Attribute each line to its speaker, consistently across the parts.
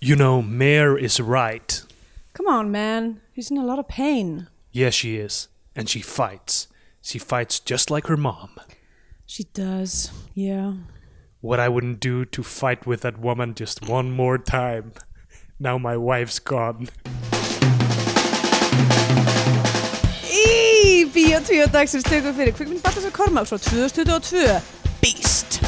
Speaker 1: You know, Mare is right.
Speaker 2: Come on, man. He's in a lot of pain.
Speaker 1: Yes, she is. And she fights. She fights just like her mom.
Speaker 2: She does. Yeah.
Speaker 1: What I wouldn't do to fight with that woman just one more time. Now my wife's gone.
Speaker 2: Í Bíotvíó dagsins tökum fyrir kvikmynd Baltas og Kormáks frá 2022 Beast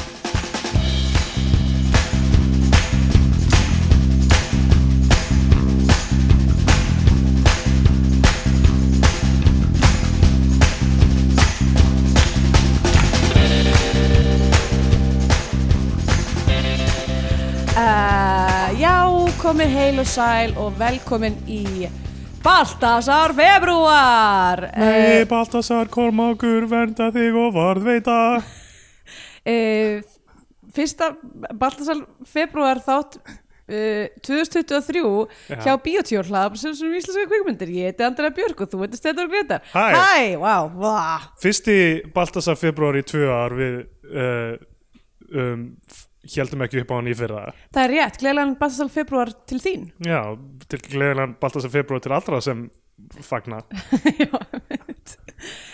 Speaker 2: Uh, já, komin heil og sæl og velkomin í Baltasar februar
Speaker 1: Nei, Baltasar Kormákur, vernda þig og varðveita.
Speaker 2: uh, fyrsta Baltasar februar þátt uh, 2023
Speaker 1: Já.
Speaker 2: hjá Bíotjór hlaðar sem svona íslenska kvikmyndir ég heiti Andrea Björk og þú heiti Stendur Gretar
Speaker 1: Hæ.
Speaker 2: Hæ, vá, vá
Speaker 1: Fyrsti Baltasar februar í tvö ár við uh, um, f- héldum ekki upp á hann í fyrra.
Speaker 2: Það er rétt, gleðilegan Baltasar februar til þín
Speaker 1: Já, til gleðilegan Baltasar februar til allra sem fagna.
Speaker 2: Já, einmitt.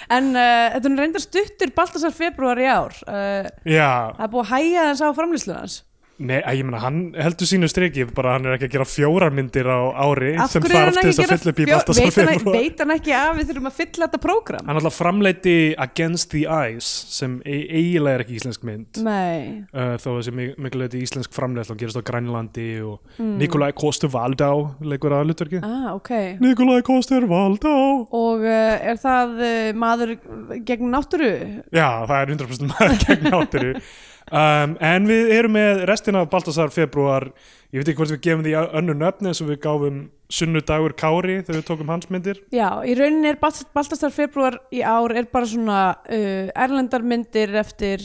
Speaker 2: En uh, þetta er nú reyndar stuttur Baltasar februar í ár uh,
Speaker 1: Já,
Speaker 2: Það er búið að hæja þess á framlýslu hans
Speaker 1: Nei, að ég meina, hann heldur sínu striki bara hann er ekki að gera fjórar myndir á ári
Speaker 2: Af
Speaker 1: sem
Speaker 2: hverju er hann
Speaker 1: þarf til þess
Speaker 2: ekki
Speaker 1: að fylla upp í
Speaker 2: gera fjó-
Speaker 1: Baltasar
Speaker 2: veit hann-
Speaker 1: februar
Speaker 2: Veit hann ekki að við þurfum að fylla þetta prógram?
Speaker 1: Hann alltaf framleiti Against the Eyes sem e eiginlega er ekki íslensk mynd
Speaker 2: Nei,
Speaker 1: uh, þó að þessi miklu leiti íslensk framleiti hann gerist á Grænlandi og mm. Nikolai Kostur Valdá leikur að hlutverki
Speaker 2: ah, ok
Speaker 1: Nikolai Kostur Valdá
Speaker 2: Og uh, er það uh, maður gegn náttúru?
Speaker 1: Já, það er 100% maður gegn átturu um, En við erum með restina af Baltasar februar ég veit ekki hvort við gefum því önnu nöfni eins og við gáfum Sunnudagur Kári þegar við tókum hans myndir
Speaker 2: Já, í rauninni er Balt- Baltasar februar í ár er bara svona uh, erlendarmyndir eftir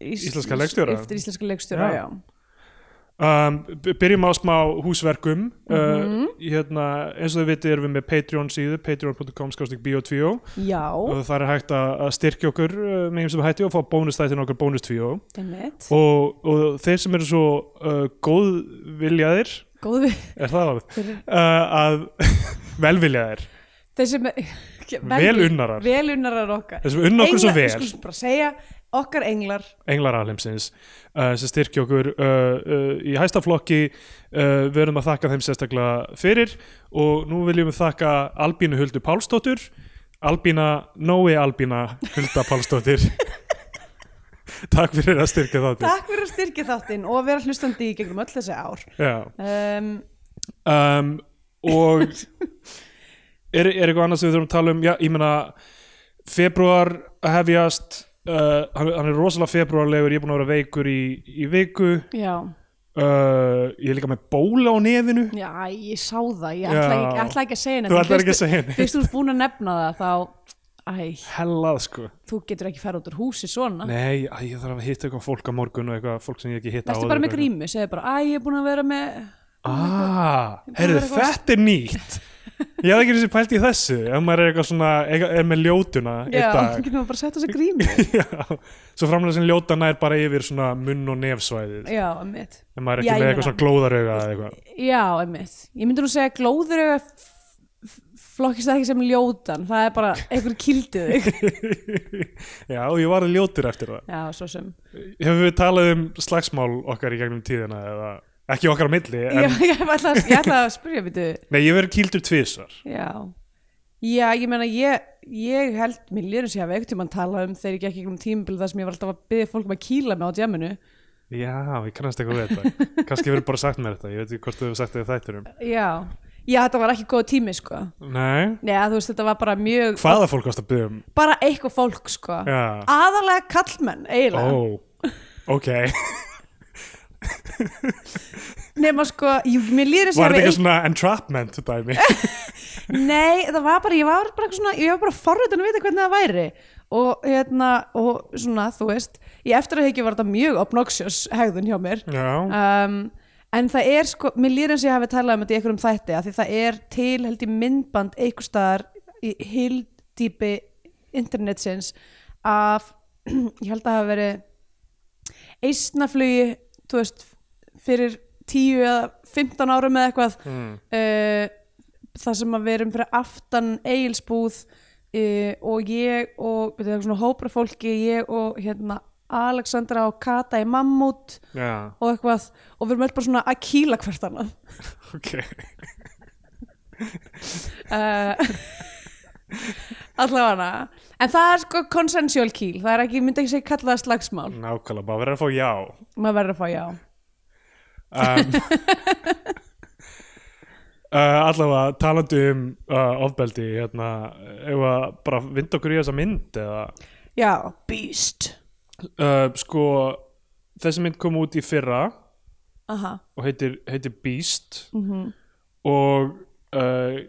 Speaker 2: ís
Speaker 1: Íslenska leikstjóra.
Speaker 2: Eftir íslenska leikstjóra,
Speaker 1: Já.
Speaker 2: já,
Speaker 1: um, b- byrjum á smá húsverkum uh, hérna, eins og þau viti erum við með Patreon síðu patreon.com skástík bio2
Speaker 2: já.
Speaker 1: og það er hægt að að styrkja okkur uh, með eins sem hætti og fá bónustættin okkar bónustvíó
Speaker 2: einmitt
Speaker 1: og, og þeir sem eru svo uh, góðviljaðir
Speaker 2: Góð við
Speaker 1: er það orð?
Speaker 2: Þeir-
Speaker 1: Uh, að velviljaðir,
Speaker 2: Þeir sem
Speaker 1: velunnarar
Speaker 2: Velunnarar okkar
Speaker 1: þeir sem unna okkur svo
Speaker 2: Englar-
Speaker 1: vel
Speaker 2: Við skulum bara segja okkar englar
Speaker 1: englaralheimsins uh, sem styrkja okkur uh, uh, í hæstaflokki uh, við erum að þakka þeim sérstaklega fyrir og nú viljum við þakka Albínu Huldu Pálsdóttur Albína, Nói Albína Hulda Pálsdóttir Takk fyrir að styrka þáttir
Speaker 2: Takk fyrir að styrkja þáttinn og vera hlustandi í gegnum öll þessi ár
Speaker 1: Já.
Speaker 2: um,
Speaker 1: um, og er, er eitthvað annað sem við þurfum að tala um já, ég meina februar hefjast uh, hann, hann er rosalega februarlegur, ég er búin að vera veikur í, í viku
Speaker 2: Já,
Speaker 1: uh, ég er líka með bóla á nefinu
Speaker 2: já, ég sá það Ég
Speaker 1: Já.
Speaker 2: ætla, ekki- ætla ekki að segja neitt
Speaker 1: þú
Speaker 2: en
Speaker 1: ætlar ekki að
Speaker 2: fyrst-
Speaker 1: segja henni
Speaker 2: Fyrst þú ert búin að nefna það þá Æ,
Speaker 1: hellað sko,
Speaker 2: þú getur ekki fara út úr húsi svona
Speaker 1: nei, æ, ég þarf að hitta eitthvað fólk á morgun og eitthvað fólk sem ég hef ekki hitta
Speaker 2: Vertu bara með grímu, segðu bara Æ, ég er búin að vera með Ég
Speaker 1: ah,
Speaker 2: er búin að
Speaker 1: herðu,
Speaker 2: vera eitthvað-
Speaker 1: þetta er nýtt ég hef ekki eins og pælt í þessu ef maður er eitthvað svona, eitthvað- er með ljótuna
Speaker 2: Já,
Speaker 1: einn
Speaker 2: þú
Speaker 1: dag
Speaker 2: getur maður bara að setja þessi grímu
Speaker 1: Já, svo framlega sem ljótana er bara yfir svona munn og nefsvæðið
Speaker 2: Já, emmitt
Speaker 1: en maður er
Speaker 2: Já, ég
Speaker 1: ekki með
Speaker 2: meina-
Speaker 1: eitthvað svona glóðarauga eða eitthvað
Speaker 2: Já, emmitt Ég myndi nú segja að glóður ef flokkist það ekki sem ljótan það er bara einhver kildið þig
Speaker 1: já, og ég varði ljótur eftir það
Speaker 2: Já, svo sem
Speaker 1: hefur við talað um slagsmál okkar í gegnum tíðina eða, ekki okkar á milli en,
Speaker 2: Já, ég ætla, að- ég ætla að spyrja, veitu
Speaker 1: Nei, ég verið kýldur tvisar.
Speaker 2: Já, já ég meina ég, ég held mér lýður sem ég hafi ekkert tíma að tala um þegar ég gekk einhverjum tímabil þar sem ég var alltaf að byggja fólk um að kýla mig á djaminu
Speaker 1: Já, ég kannast eitthvað við þetta. Kannski verið bara sagt mér þetta, ég veit ekki hvort þú hefur sagt þetta þættur um.
Speaker 2: Já, já þetta var ekki góð tími sko
Speaker 1: Nei,
Speaker 2: Nei, þú veist þetta var bara mjög
Speaker 1: hvaða fólk ást að byggja um?
Speaker 2: bara eitthvað fólk sko
Speaker 1: Já,
Speaker 2: aðalega kallmenn
Speaker 1: ó,
Speaker 2: eiginlega
Speaker 1: ok.
Speaker 2: nema sko, ég, mér lýður sem
Speaker 1: Var
Speaker 2: ég
Speaker 1: þetta eitthvað
Speaker 2: hafi
Speaker 1: svona entrapment dæmi?
Speaker 2: eitt- Nei, það var bara, ég var bara eitthvað svona ég var bara forröðin að vita hvernig það væri og hérna, og svona, þú veist í eftir að var þetta mjög obnoxious hegðun hjá mér
Speaker 1: Já,
Speaker 2: um, en það er sko, mér líður eins og ég hafi talað um þetta í einhverjum þætti að því það er til held í myndband einhvers staðar í hildýpi internetsins af, ég held að hafa verið eisnaflugi, þú veist fyrir 10 eða 15 árum eða eitthvað
Speaker 1: Mm.
Speaker 2: uh, þar sem að við erum fyrir aftan eigilsbúð uh, og ég og við erum svona hópra fólki ég og hérna Alexandra og Kata í Mammút
Speaker 1: Já,
Speaker 2: og eitthvað og við erum öll bara svona að kýla hvert annað
Speaker 1: ok.
Speaker 2: uh, allavega hana en það er sko consensual kýl það er ekki, ég myndi ekki segja kalla það slagsmál
Speaker 1: Nákvæmlega, bara verður að fá já.
Speaker 2: maður verður að fá já
Speaker 1: um, uh, allavega talandi um uh, ofbeldi hérna, ef að bara vinda okkur í þessa mynd eða
Speaker 2: já, beast Eh,
Speaker 1: uh, sko þessi mynd kom út í fyrra
Speaker 2: aha,
Speaker 1: og heitir, heitir Beast
Speaker 2: Mhm.
Speaker 1: og uh,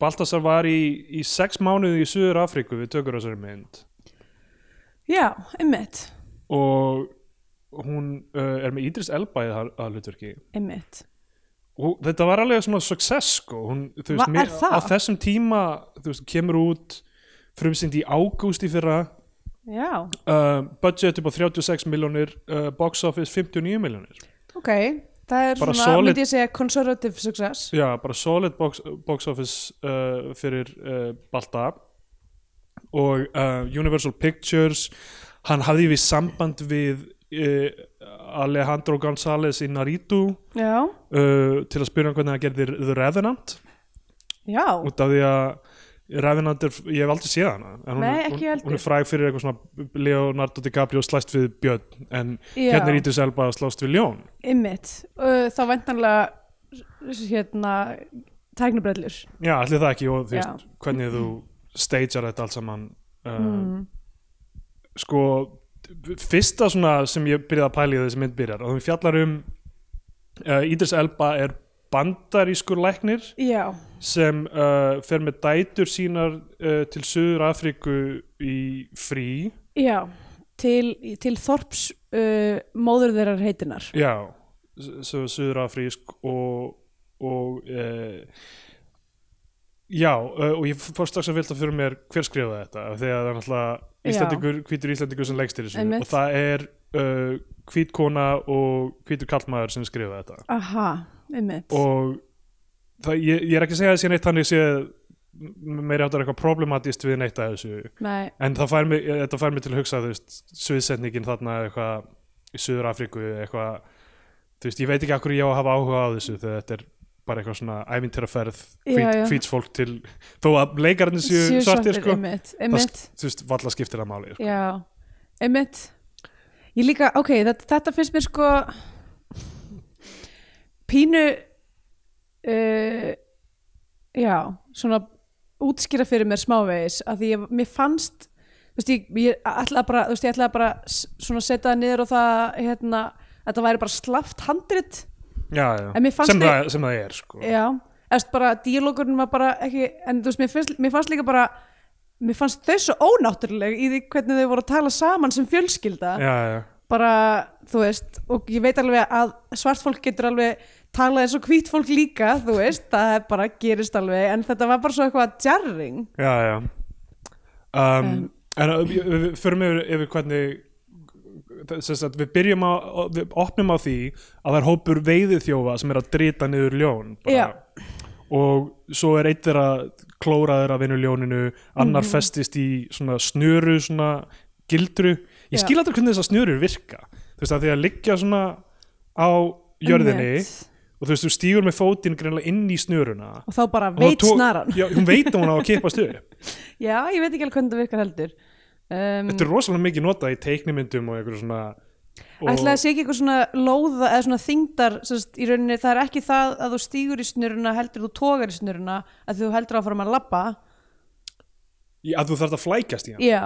Speaker 1: Baltasar var í, í sex mánuði í Suður Afríku við tökur þessari mynd
Speaker 2: já, einmitt
Speaker 1: og hún uh, er með Idris Elba í það að hlutverki
Speaker 2: einmitt,
Speaker 1: og þetta var alveg svona success sko, hún, þú
Speaker 2: Va-
Speaker 1: veist, mér,
Speaker 2: er það?
Speaker 1: á þessum tíma þú veist, kemur út frumsýnd í ágúst í fyrra
Speaker 2: já,
Speaker 1: uh, budget upp á 36 miljónir uh, box office 59 miljónir
Speaker 2: ok það er
Speaker 1: Bara
Speaker 2: svona,
Speaker 1: solid-
Speaker 2: myndi ég segja conservative success
Speaker 1: já, bara solid box, box office uh, fyrir uh, Balta og uh, Universal Pictures hann hafði við samband við uh, Alejandro González í Naruto uh,
Speaker 2: já,
Speaker 1: til að spyrja hann hvernig hann gerði The Revenant
Speaker 2: já,
Speaker 1: út af því að Revenant er, ég hef aldrei séð hana en hún,
Speaker 2: Nei,
Speaker 1: er-
Speaker 2: ekki
Speaker 1: hún,
Speaker 2: heldur.
Speaker 1: hún er fræg fyrir eitthvað svona Leonardo DiCaprio slæst við Björn en
Speaker 2: Já.
Speaker 1: hérna er Ítis Elba að slást við Ljón
Speaker 2: einmitt uh, þá væntanlega hérna, tæknubrellur
Speaker 1: já, allir það ekki og þú
Speaker 2: Já.
Speaker 1: veist hvernig þú stagear þetta allt saman uh, sko fyrsta svona sem ég byrjaði að pæla í þessi mynd byrjar og hún fjallar um uh, Ítis Elba er bandarískur læknir
Speaker 2: já,
Speaker 1: sem uh, fer með dætur sínar uh, til Suður Afríku í frí
Speaker 2: já til, til þorps uh, móður þeirrar heitinar
Speaker 1: Já, svo suðurafrísk og, og e, já, eh, og ég fór strax að velta fyrir mér hver skrifaði þetta af því að það er náttúrulega
Speaker 2: Já.
Speaker 1: Íslendingur, hvítur Íslendingur sem leggst til þessu
Speaker 2: Einmitt.
Speaker 1: og það er uh, hvít kona og hvítur kallmaður sem skrifaði þetta
Speaker 2: aha, einmitt
Speaker 1: og það, ég, ég er ekki að segja að þessi neitt þannig sé meiri áttar eitthvað problematist við neitt að þessu
Speaker 2: Nei,
Speaker 1: en það fær mig, eh, þetta fær mig til að hugsa þú veist, sviðsetningin þarna eitthvað í Suður Afríku eitthvað, þú veist, ég veit ekki akkur ég á að hafa áhuga á þessu þegar þetta er bara eitthvað svona ævintýraferð,
Speaker 2: Já, já.
Speaker 1: hvíts fólk til þó að leikarnir séu
Speaker 2: Séu
Speaker 1: svartir sko,
Speaker 2: einmitt,
Speaker 1: það,
Speaker 2: einmitt
Speaker 1: sk- þú veist, valla skiptir það máli sko.
Speaker 2: Já, einmitt Ég líka, ok, þetta, þetta finnst mér sko pínu uh, já, svona útskýra fyrir mér smávegis að því ég, mér fannst þú veist, ég, ég ætlaði bara, þú veist, ég ætlaði bara s- svona setja það niður og það hérna, að þetta væri bara slaft handrit
Speaker 1: já, já.
Speaker 2: En mér fannst
Speaker 1: Sem,
Speaker 2: þið-
Speaker 1: það, sem það er sko.
Speaker 2: Já, eftir bara díalókurinn var bara ekki, en þú veist, mér fannst, mér fannst líka bara mér fannst þau svo ónáttúruleg í því hvernig þau voru að tala saman sem fjölskylda
Speaker 1: já, já,
Speaker 2: bara, þú veist, og ég veit alveg að svart fólk getur alveg talað eins og hvít fólk líka, þú veist, það er bara gerist alveg, en þetta var bara svo eitthvað jarring.
Speaker 1: já, já. Um, en uh, við- við við förum yfir, yfir hvernig sem sagt, við byrjum á, við opnum á því að það er hópur veiðiþjófa sem er að drita niður ljón bara. og svo er eitt þeirra klóraður að vinna ljóninu annar
Speaker 2: Mhm.
Speaker 1: festist í svona snöru svona gildru
Speaker 2: Já.
Speaker 1: ég skil aldrei hvernig þessar snörur virka þú veist að því að liggja svona á
Speaker 2: um
Speaker 1: jörðinni
Speaker 2: Einmitt.
Speaker 1: og þú veist þú stígur með fótinn greinlega inn í snöruna
Speaker 2: Og þá bara
Speaker 1: Og þá
Speaker 2: veit
Speaker 1: tó-
Speaker 2: snaran.
Speaker 1: já, hún veit að hún á að kippa stuð
Speaker 2: Já, ég veit ekki alveg hvernig það virkar heldur. Um,
Speaker 1: þetta er rosalega mikið notað í teiknimyndum og einhverju svona og-
Speaker 2: Ætlaði að sé ekki eitthvað svona lóða eða svona þyngdar sérst, í rauninni, það er ekki það að þú stígur í snuruna heldur þú tógar í snuruna að þú heldur áfram að labba
Speaker 1: í- að þú þarft að flækjast í hann
Speaker 2: Já,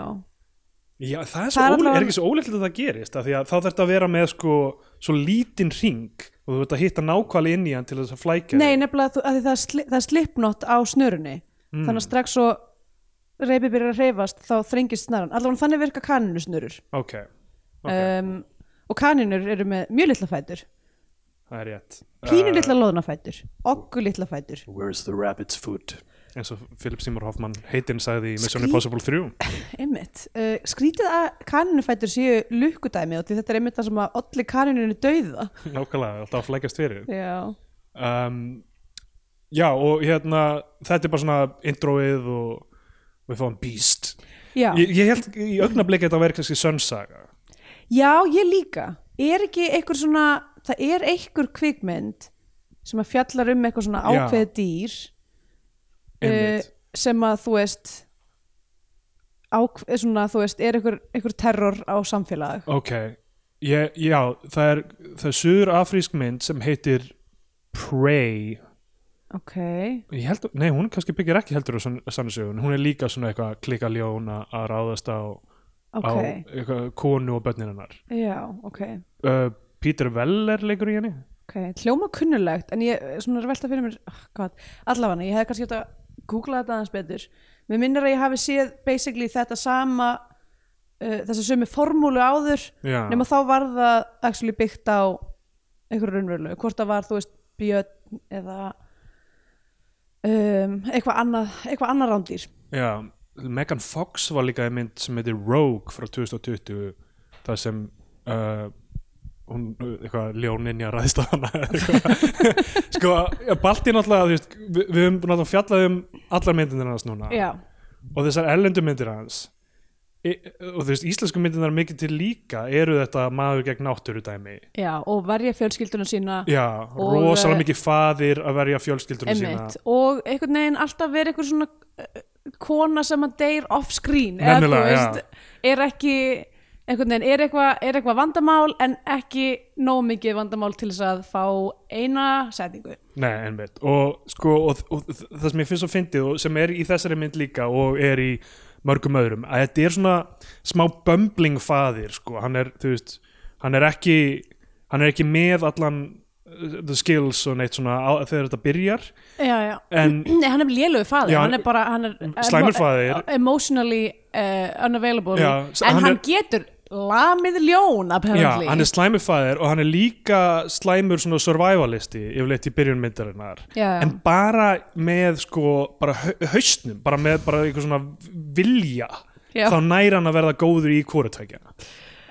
Speaker 1: Já, það er,
Speaker 2: Það er
Speaker 1: svo ól,
Speaker 2: allavega-
Speaker 1: er ekki svo óleiklegt að það gerist af því að þá þarf þetta að vera með sko svo lítinn ring og þú veit að hitta nákvæmlega inn í hann til þess að flækja
Speaker 2: nei nefnilega að, þú, að því það, er sli, það er slipnott á snurunni þannig að strax svo reypi byrjar að reyfast þá þrengist snaran allavega þannig virka kaninu snurur
Speaker 1: ok, ok,
Speaker 2: um, og kaninur eru með mjög litla fætur
Speaker 1: það er rétt Eh. Uh,
Speaker 2: pínu litla loðna fætur, okkur litla fætur
Speaker 1: Where's the rabbit's foot? eins og Philip Seymour Hoffman heitinn sagði í Mission
Speaker 2: Skrý-
Speaker 1: Impossible 3
Speaker 2: einmitt, uh, skrítið að kaninufætur séu lukkudæmi og því þetta er einmitt það sem að olli kaninunni dauða
Speaker 1: nákvæmlega, alltaf að flækjast fyrir
Speaker 2: já,
Speaker 1: um, já og hérna þetta er bara svona introið og við fáum Beast
Speaker 2: já,
Speaker 1: ég, ég held í augnablik að þetta verið kannski Sönsaga
Speaker 2: já ég líka er ekki einhver svona það er einhver kvikmynd sem að fjallar um eitthvað svona
Speaker 1: Já.
Speaker 2: ákveð dýr uh,
Speaker 1: einmitt,
Speaker 2: sem að þú veist ákveð, svona þú veist, er einhver, einhver terror á samfélag
Speaker 1: Eh, ok ég, já, það er það er suður afrísk mynd sem heitir Prey
Speaker 2: ok,
Speaker 1: ég held, nei hún kannski byggir ekki heldur á sannsögun, hún er líka svona eitthvað klika ljón að að ráðast á,
Speaker 2: ok,
Speaker 1: á eitthvað, konu og börnin hennar
Speaker 2: já, ok
Speaker 1: uh, Peter Weller leikur í henni
Speaker 2: ok, hljóma kunnulegt en ég eh, svona er að velta fyrir mér oh, God, allafana, ég hefði kannski átt að googla þetta aðeins betur, mér minnir að ég hafi séð basically þetta sama uh, þessa sömu formúlu áður
Speaker 1: já,
Speaker 2: nema þá var það actually byggt á einhverju raunverulegu, hvort það var þú veist björn eða um, eitthvað annað eitthvað annað rándýr
Speaker 1: já. Megan Fox var líka í mynd sem heitir Rogue frá 2020 það sem uh, hún, uh, eitthvað ljóninja ræðist á hana eða eitthvað. sko, ja, Balti náttúrulega þú veist, við, við höfum náttúrulega fjallað um allar myndinir hans núna
Speaker 2: já,
Speaker 1: og þessar erlendu myndir hans e, og þú veist, íslensku myndirnar mikið til líka eru þetta maður gegn náttúru dæmi
Speaker 2: já, og verja fjölskylduna sína
Speaker 1: já,
Speaker 2: Og,
Speaker 1: rosalega
Speaker 2: eh,
Speaker 1: mikið faðir að verja fjölskyldunum sína
Speaker 2: Einmitt, og einhvern veginn alltaf verið einhver svona eh, kona sem að deyr off screen
Speaker 1: Nefnilega,
Speaker 2: eða, þú er ekki einhvern veginn, er eitthvað er eitthva vandamál en ekki nóg mikið vandamál til þess að fá eina setningu
Speaker 1: Nei, einmitt og, sko, og, og það sem ég finnst svo fyndið og sem er í þessari mynd líka og er í mörgum öðrum að þetta er svona smá bömbling faðir sko. hann er, þú veist, hann er ekki hann er ekki með allan uh, the skills og neitt svona á, þegar þetta byrjar
Speaker 2: já, já.
Speaker 1: en
Speaker 2: Nei, hann er lélögu faðir,
Speaker 1: Já, mm,
Speaker 2: hann er bara hann er eh,
Speaker 1: slæmur faðir.
Speaker 2: emotionally uh, unavailable
Speaker 1: Já, s-
Speaker 2: en
Speaker 1: hann
Speaker 2: hann,
Speaker 1: er-
Speaker 2: getur lamið ljón apparently
Speaker 1: Já, hann er slæmur fæðir og hann er líka slæmur svona survivalisti yfirleitt í byrjun myndarinnar
Speaker 2: Já, já.
Speaker 1: en bara með sko bara hau- hausnum, bara með bara einhver svona vilja
Speaker 2: Já.
Speaker 1: þá nær hann að verða góður í hvorutækja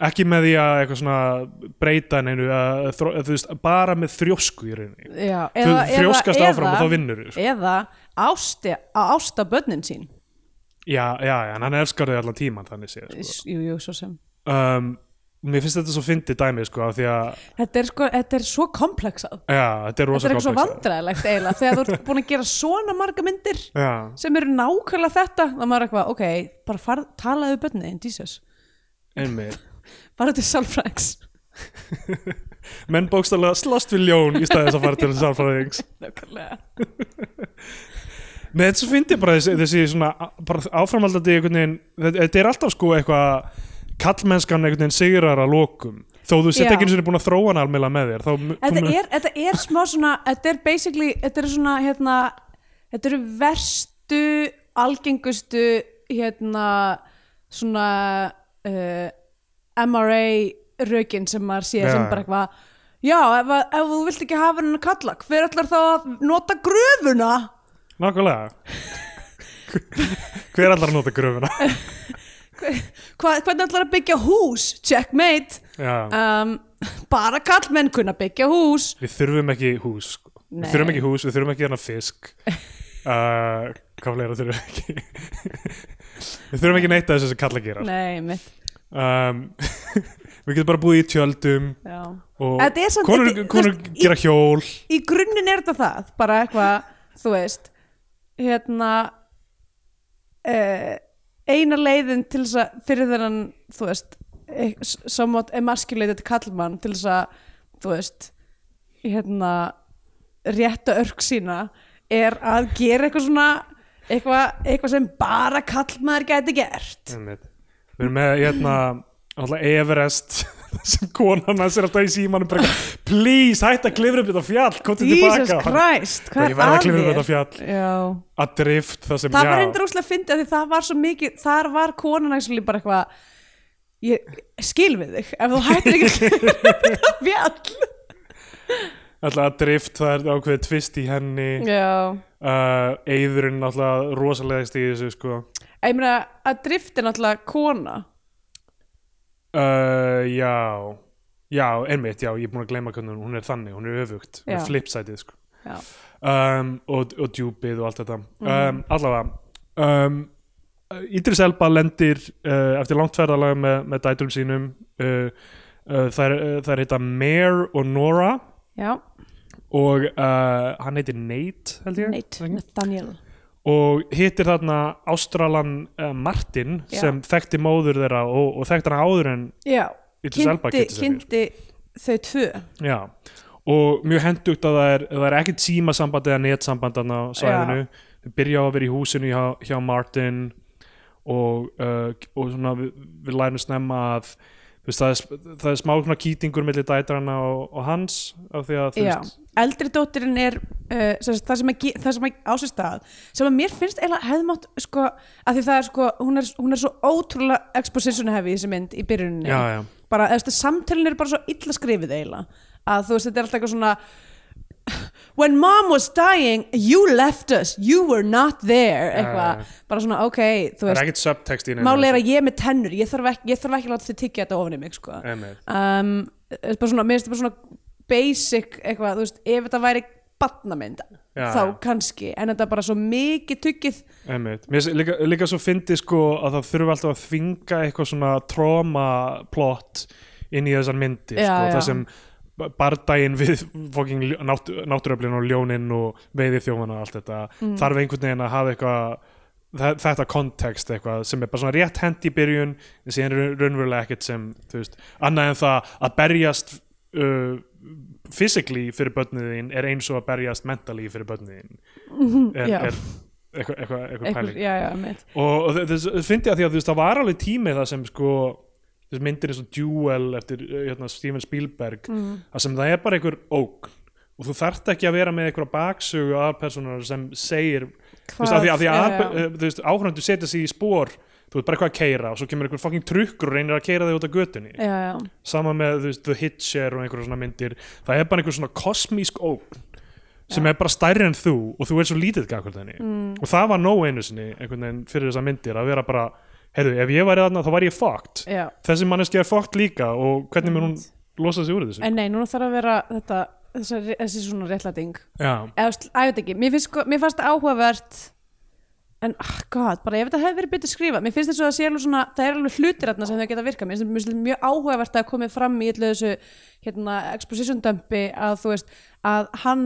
Speaker 1: ekki með því að eitthvað svona breyta neinu, að, þró- að, þú veist, bara með þrjósku í rauninni
Speaker 2: já,
Speaker 1: þú
Speaker 2: eða,
Speaker 1: þrjóskast
Speaker 2: eða,
Speaker 1: áfram og þá vinnur sko.
Speaker 2: eða ásti, að ásta börnin sín
Speaker 1: já, já, já, en hann elskar þau allan tíman þannig séð sko.
Speaker 2: Jú, jú, svo sem
Speaker 1: um, mér finnst þetta svo fyndið dæmi sko, af því að,
Speaker 2: Þetta er, sko, þetta er svo komplexað
Speaker 1: já, þetta er
Speaker 2: Þetta
Speaker 1: rosa
Speaker 2: er eitthvað svo
Speaker 1: komplexað.
Speaker 2: vandræðilegt eiginlega þegar þú ert búin að gera svona marga myndir
Speaker 1: Já.
Speaker 2: sem eru nákvæmlega þetta þá maður er eitthvað, ok, bara far, talaðu bönni en Jesus,
Speaker 1: Einmitt.
Speaker 2: bara til sálfræðings
Speaker 1: Menn bókstælega slast við ljón í staðis að fara til sálfræðings.
Speaker 2: Nákvæmlega
Speaker 1: Nei, þetta svo fyndi bara þessi, þessi svona bara áframaldandi einhvern veginn, þetta- þetta er alltaf sko eitthvað kallmennskan einhvern veginn sigrar að lokum. Þó þú sett
Speaker 2: Já.
Speaker 1: ekki eins og er búin að þróa hann almela með þér. Þá,
Speaker 2: þetta er, þetta er smá svona þetta er basically, þetta er svona hérna, þetta eru verstu algengustu hérna svona uh, MRA rökin sem maður sé
Speaker 1: Já,
Speaker 2: sem
Speaker 1: já.
Speaker 2: bara eitthvað já, ef, að- ef þú vilt ekki hafa hennar kalla hver ætlar þá að nota gröfuna
Speaker 1: Nákvæmlega. Hver allar að nota gröfuna?
Speaker 2: Hva, hvernig ætlar að byggja hús checkmate
Speaker 1: Já.
Speaker 2: um, bara kallmenn kunna byggja hús
Speaker 1: Við þurfum ekki hús. Sko. Við
Speaker 2: Nei.
Speaker 1: þurfum ekki hús, við þurfum ekki hérna fisk. Uh, hvað fleira þurfum við ekki? við þurfum ekki neitt að þessu sem kalla gera.
Speaker 2: nei, mitt
Speaker 1: um, við getum bara búið í tjöldum
Speaker 2: já
Speaker 1: og
Speaker 2: Þetta er samt
Speaker 1: konur,
Speaker 2: ekki-
Speaker 1: konur
Speaker 2: þú veist,
Speaker 1: gera hjól
Speaker 2: í grunninn er þetta það bara eitthvað, þú veist hérna uh, eina leiðin til þess að fyrir þennan, þú veist eh, s- somewhat emasculated kallmann til þess að, þú veist hérna rétta örg sína er að gera eitthvað svona eitthvað, eitthvað sem bara kallmaður gæti gert
Speaker 1: Einmitt. við erum með hérna alltaf Everest sem konan hans er alltaf í símanum bara, eitthvað, please hætt að klifra upp þetta fjall komdu
Speaker 2: Jesus
Speaker 1: tilbaka
Speaker 2: Christ,
Speaker 1: Bara,
Speaker 2: hvað
Speaker 1: ég verð að
Speaker 2: er
Speaker 1: klifra upp
Speaker 2: að
Speaker 1: þetta fjall
Speaker 2: þér? Já
Speaker 1: að drift það sem
Speaker 2: það
Speaker 1: já,
Speaker 2: var reyndar úslega fyndið af því það var svo mikið þar var konan actually bara eitthvað ég skil við þig ef þú hættir ekki að klifra upp þetta fjall
Speaker 1: alltaf að drift það er ákveðið tvist í henni
Speaker 2: já
Speaker 1: uh, Eðurinn alltaf rosalegast í þessu sko
Speaker 2: ég meina að drift er náttúrulega kona
Speaker 1: uh, Já Já, einmitt, já, ég er búin að gleyma hvernig hún- hún er þannig, hún er öfugt, hún
Speaker 2: Já.
Speaker 1: er flipsætið sko
Speaker 2: já,
Speaker 1: um, og, og djúpið og allt þetta um, allavega um, Idris Elba lendir uh, eftir langt ferðalag með, með dætum sínum uh, uh, þær, uh, þær heita Mare og Nora
Speaker 2: já.
Speaker 1: og uh, hann heitir Nate held ég
Speaker 2: Nate, Nathaniel
Speaker 1: og hittir þarna Ástralan uh, Martin
Speaker 2: Já.
Speaker 1: sem þekkti móður þeirra og, og þekkti hana áður en
Speaker 2: já,
Speaker 1: Idris Elba
Speaker 2: kynnti,
Speaker 1: kynnti sér fyrir.
Speaker 2: kynnti þau tvö
Speaker 1: Já, og mjög hendugt að það er, það er ekkert símasamband eða netsamband þarna á svæðinu þau byrja á að vera í húsinu hjá, hjá Martin og, uh, og svona við, við lærum snemma að þú veist, það, er, sp- það er smá svona kýtingur millir dætrana og, og hans af því að þú
Speaker 2: já,
Speaker 1: veist
Speaker 2: eldri dóttirinn er uh, sem sagt, það sem, að ge- það sem ásistað sem að mér finnst eiginlega hefðmátt sko, að því það er sko, hún er, hún er svo ótrúlega exposition heavy í þessi mynd í byrjuninni
Speaker 1: Já, já.
Speaker 2: bara, eða, þú veist, samtölin er bara svo illa skrifið eiginlega að þú veist, þetta er alltaf eitthvað svona When mom was dying, you left us, you were not there
Speaker 1: Já,
Speaker 2: eitthvað,
Speaker 1: já, já.
Speaker 2: bara svona, ok, þú
Speaker 1: það
Speaker 2: veist
Speaker 1: er ekkert subtext í neinu
Speaker 2: málið er að ég er með tennur, ég þarf ekki, ég þarf ekki að láta þið tyggja þetta ofan í mig sko.
Speaker 1: Einmitt.
Speaker 2: um, þetta er bara svona, mér finnst þetta bara svona basic eitthvað, þú veist, ef þetta væri batnamynd,
Speaker 1: Já,
Speaker 2: þá
Speaker 1: já.
Speaker 2: kannski en þetta er bara svo mikið tyggið
Speaker 1: Einmitt. Mér finnst líka, líka svo fyndi sko að það þurfi alltaf að þvinga eitthvað svona trauma plot inn í þessar myndir
Speaker 2: Já,
Speaker 1: sko,
Speaker 2: já.
Speaker 1: það sem ba- bardaginn við fucking ljó- nátt, náttúröflin og ljónin og veiði þjófana og allt þetta
Speaker 2: Mm.
Speaker 1: þarf einhvern veginn að hafa eitthvað þa- þetta kontekst eitthvað sem er bara svona rétt hent í byrjun en síðan er raunverulega ekkert sem þú veist, annað en það að berjast uh, physically fyrir börniðin er eins og að berjast mentally fyrir börniðin er,
Speaker 2: já.
Speaker 1: er eitthvað, eitthvað, eitthvað
Speaker 2: eitthvað,
Speaker 1: pæling
Speaker 2: já, já, mitt
Speaker 1: og og þe- þess fyndi að því að þú veist það var alveg tími það sem sko þess myndir eins og Duel eftir eh, hérna, Steven Spielberg
Speaker 2: Mm.
Speaker 1: það sem það er bara einhver ógn og þú þarft ekki að vera með einhverja baksögu af personar sem segir þú veist, að því að, því að,
Speaker 2: já, já.
Speaker 1: að þú veist, áhverjandi setja sig í spór þú veist bara eitthvað að keira og svo kemur einhver fucking trukkur og reynir að keira þig út af götunni
Speaker 2: já, já,
Speaker 1: sama með þú veist, The Hitcher og einhverja svona myndir það er bara einhver svona kosmísk ógn sem er bara stærri en þú og þú er svo lítið gagvöld henni mm. og það var nóg einu sinni einhvern veginn fyrir þessar myndir að vera bara, heyrðu, ef ég væri þarna þá væri ég fucked
Speaker 2: já.
Speaker 1: þessi manneski er fucked líka og hvernig mun hún losa sig úr þessu
Speaker 2: en nei, núna þarf að vera þetta, þessa, þessi svona réttlæting
Speaker 1: já,
Speaker 2: eða, þú veist, að ég veit ekki, mér finnst, sko- mér fannst áhugavert en, ah, god, bara ef þetta hefði verið betur skrifað, mér finnst þess að það sé alveg svona það er alveg hlutir þarna sem þau geta virkað mér finnst þetta mjög áhugavert að komið fram í öllu þessu, hérna, exposition dumpi að þú veist, að hann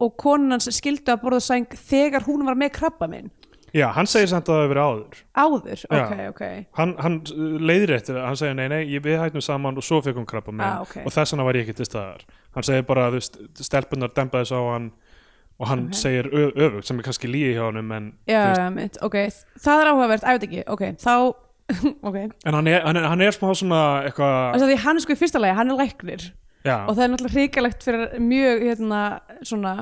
Speaker 2: og konan hans skildu að borða sæng þegar hún var með krabba minn
Speaker 1: já hann segir samt að það hefur verið áður
Speaker 2: áður,
Speaker 1: Já.
Speaker 2: ok, ok
Speaker 1: hann, hann leiðir eftir það, hann segir nei, nei, ég- við hættum saman og svo fekk hún krabba með
Speaker 2: Ah, ok.
Speaker 1: og þess vegna var ég ekki til staðar hann segir bara að stelpunar dempa þess á hann og hann segir ö- öfugt sem er kannski líi hjá honum en, þú
Speaker 2: já,
Speaker 1: veist,
Speaker 2: já, mitt, ok, það er áhugavert, að ég veit ekki ok, þá, ok
Speaker 1: en hann, er, hann, er, hann er smá svona eitthvað
Speaker 2: þess að því hann er sko í fyrsta lagi, hann er læknir
Speaker 1: já,
Speaker 2: og það er náttúrulega hrikalegt fyrir mjög hérna, svona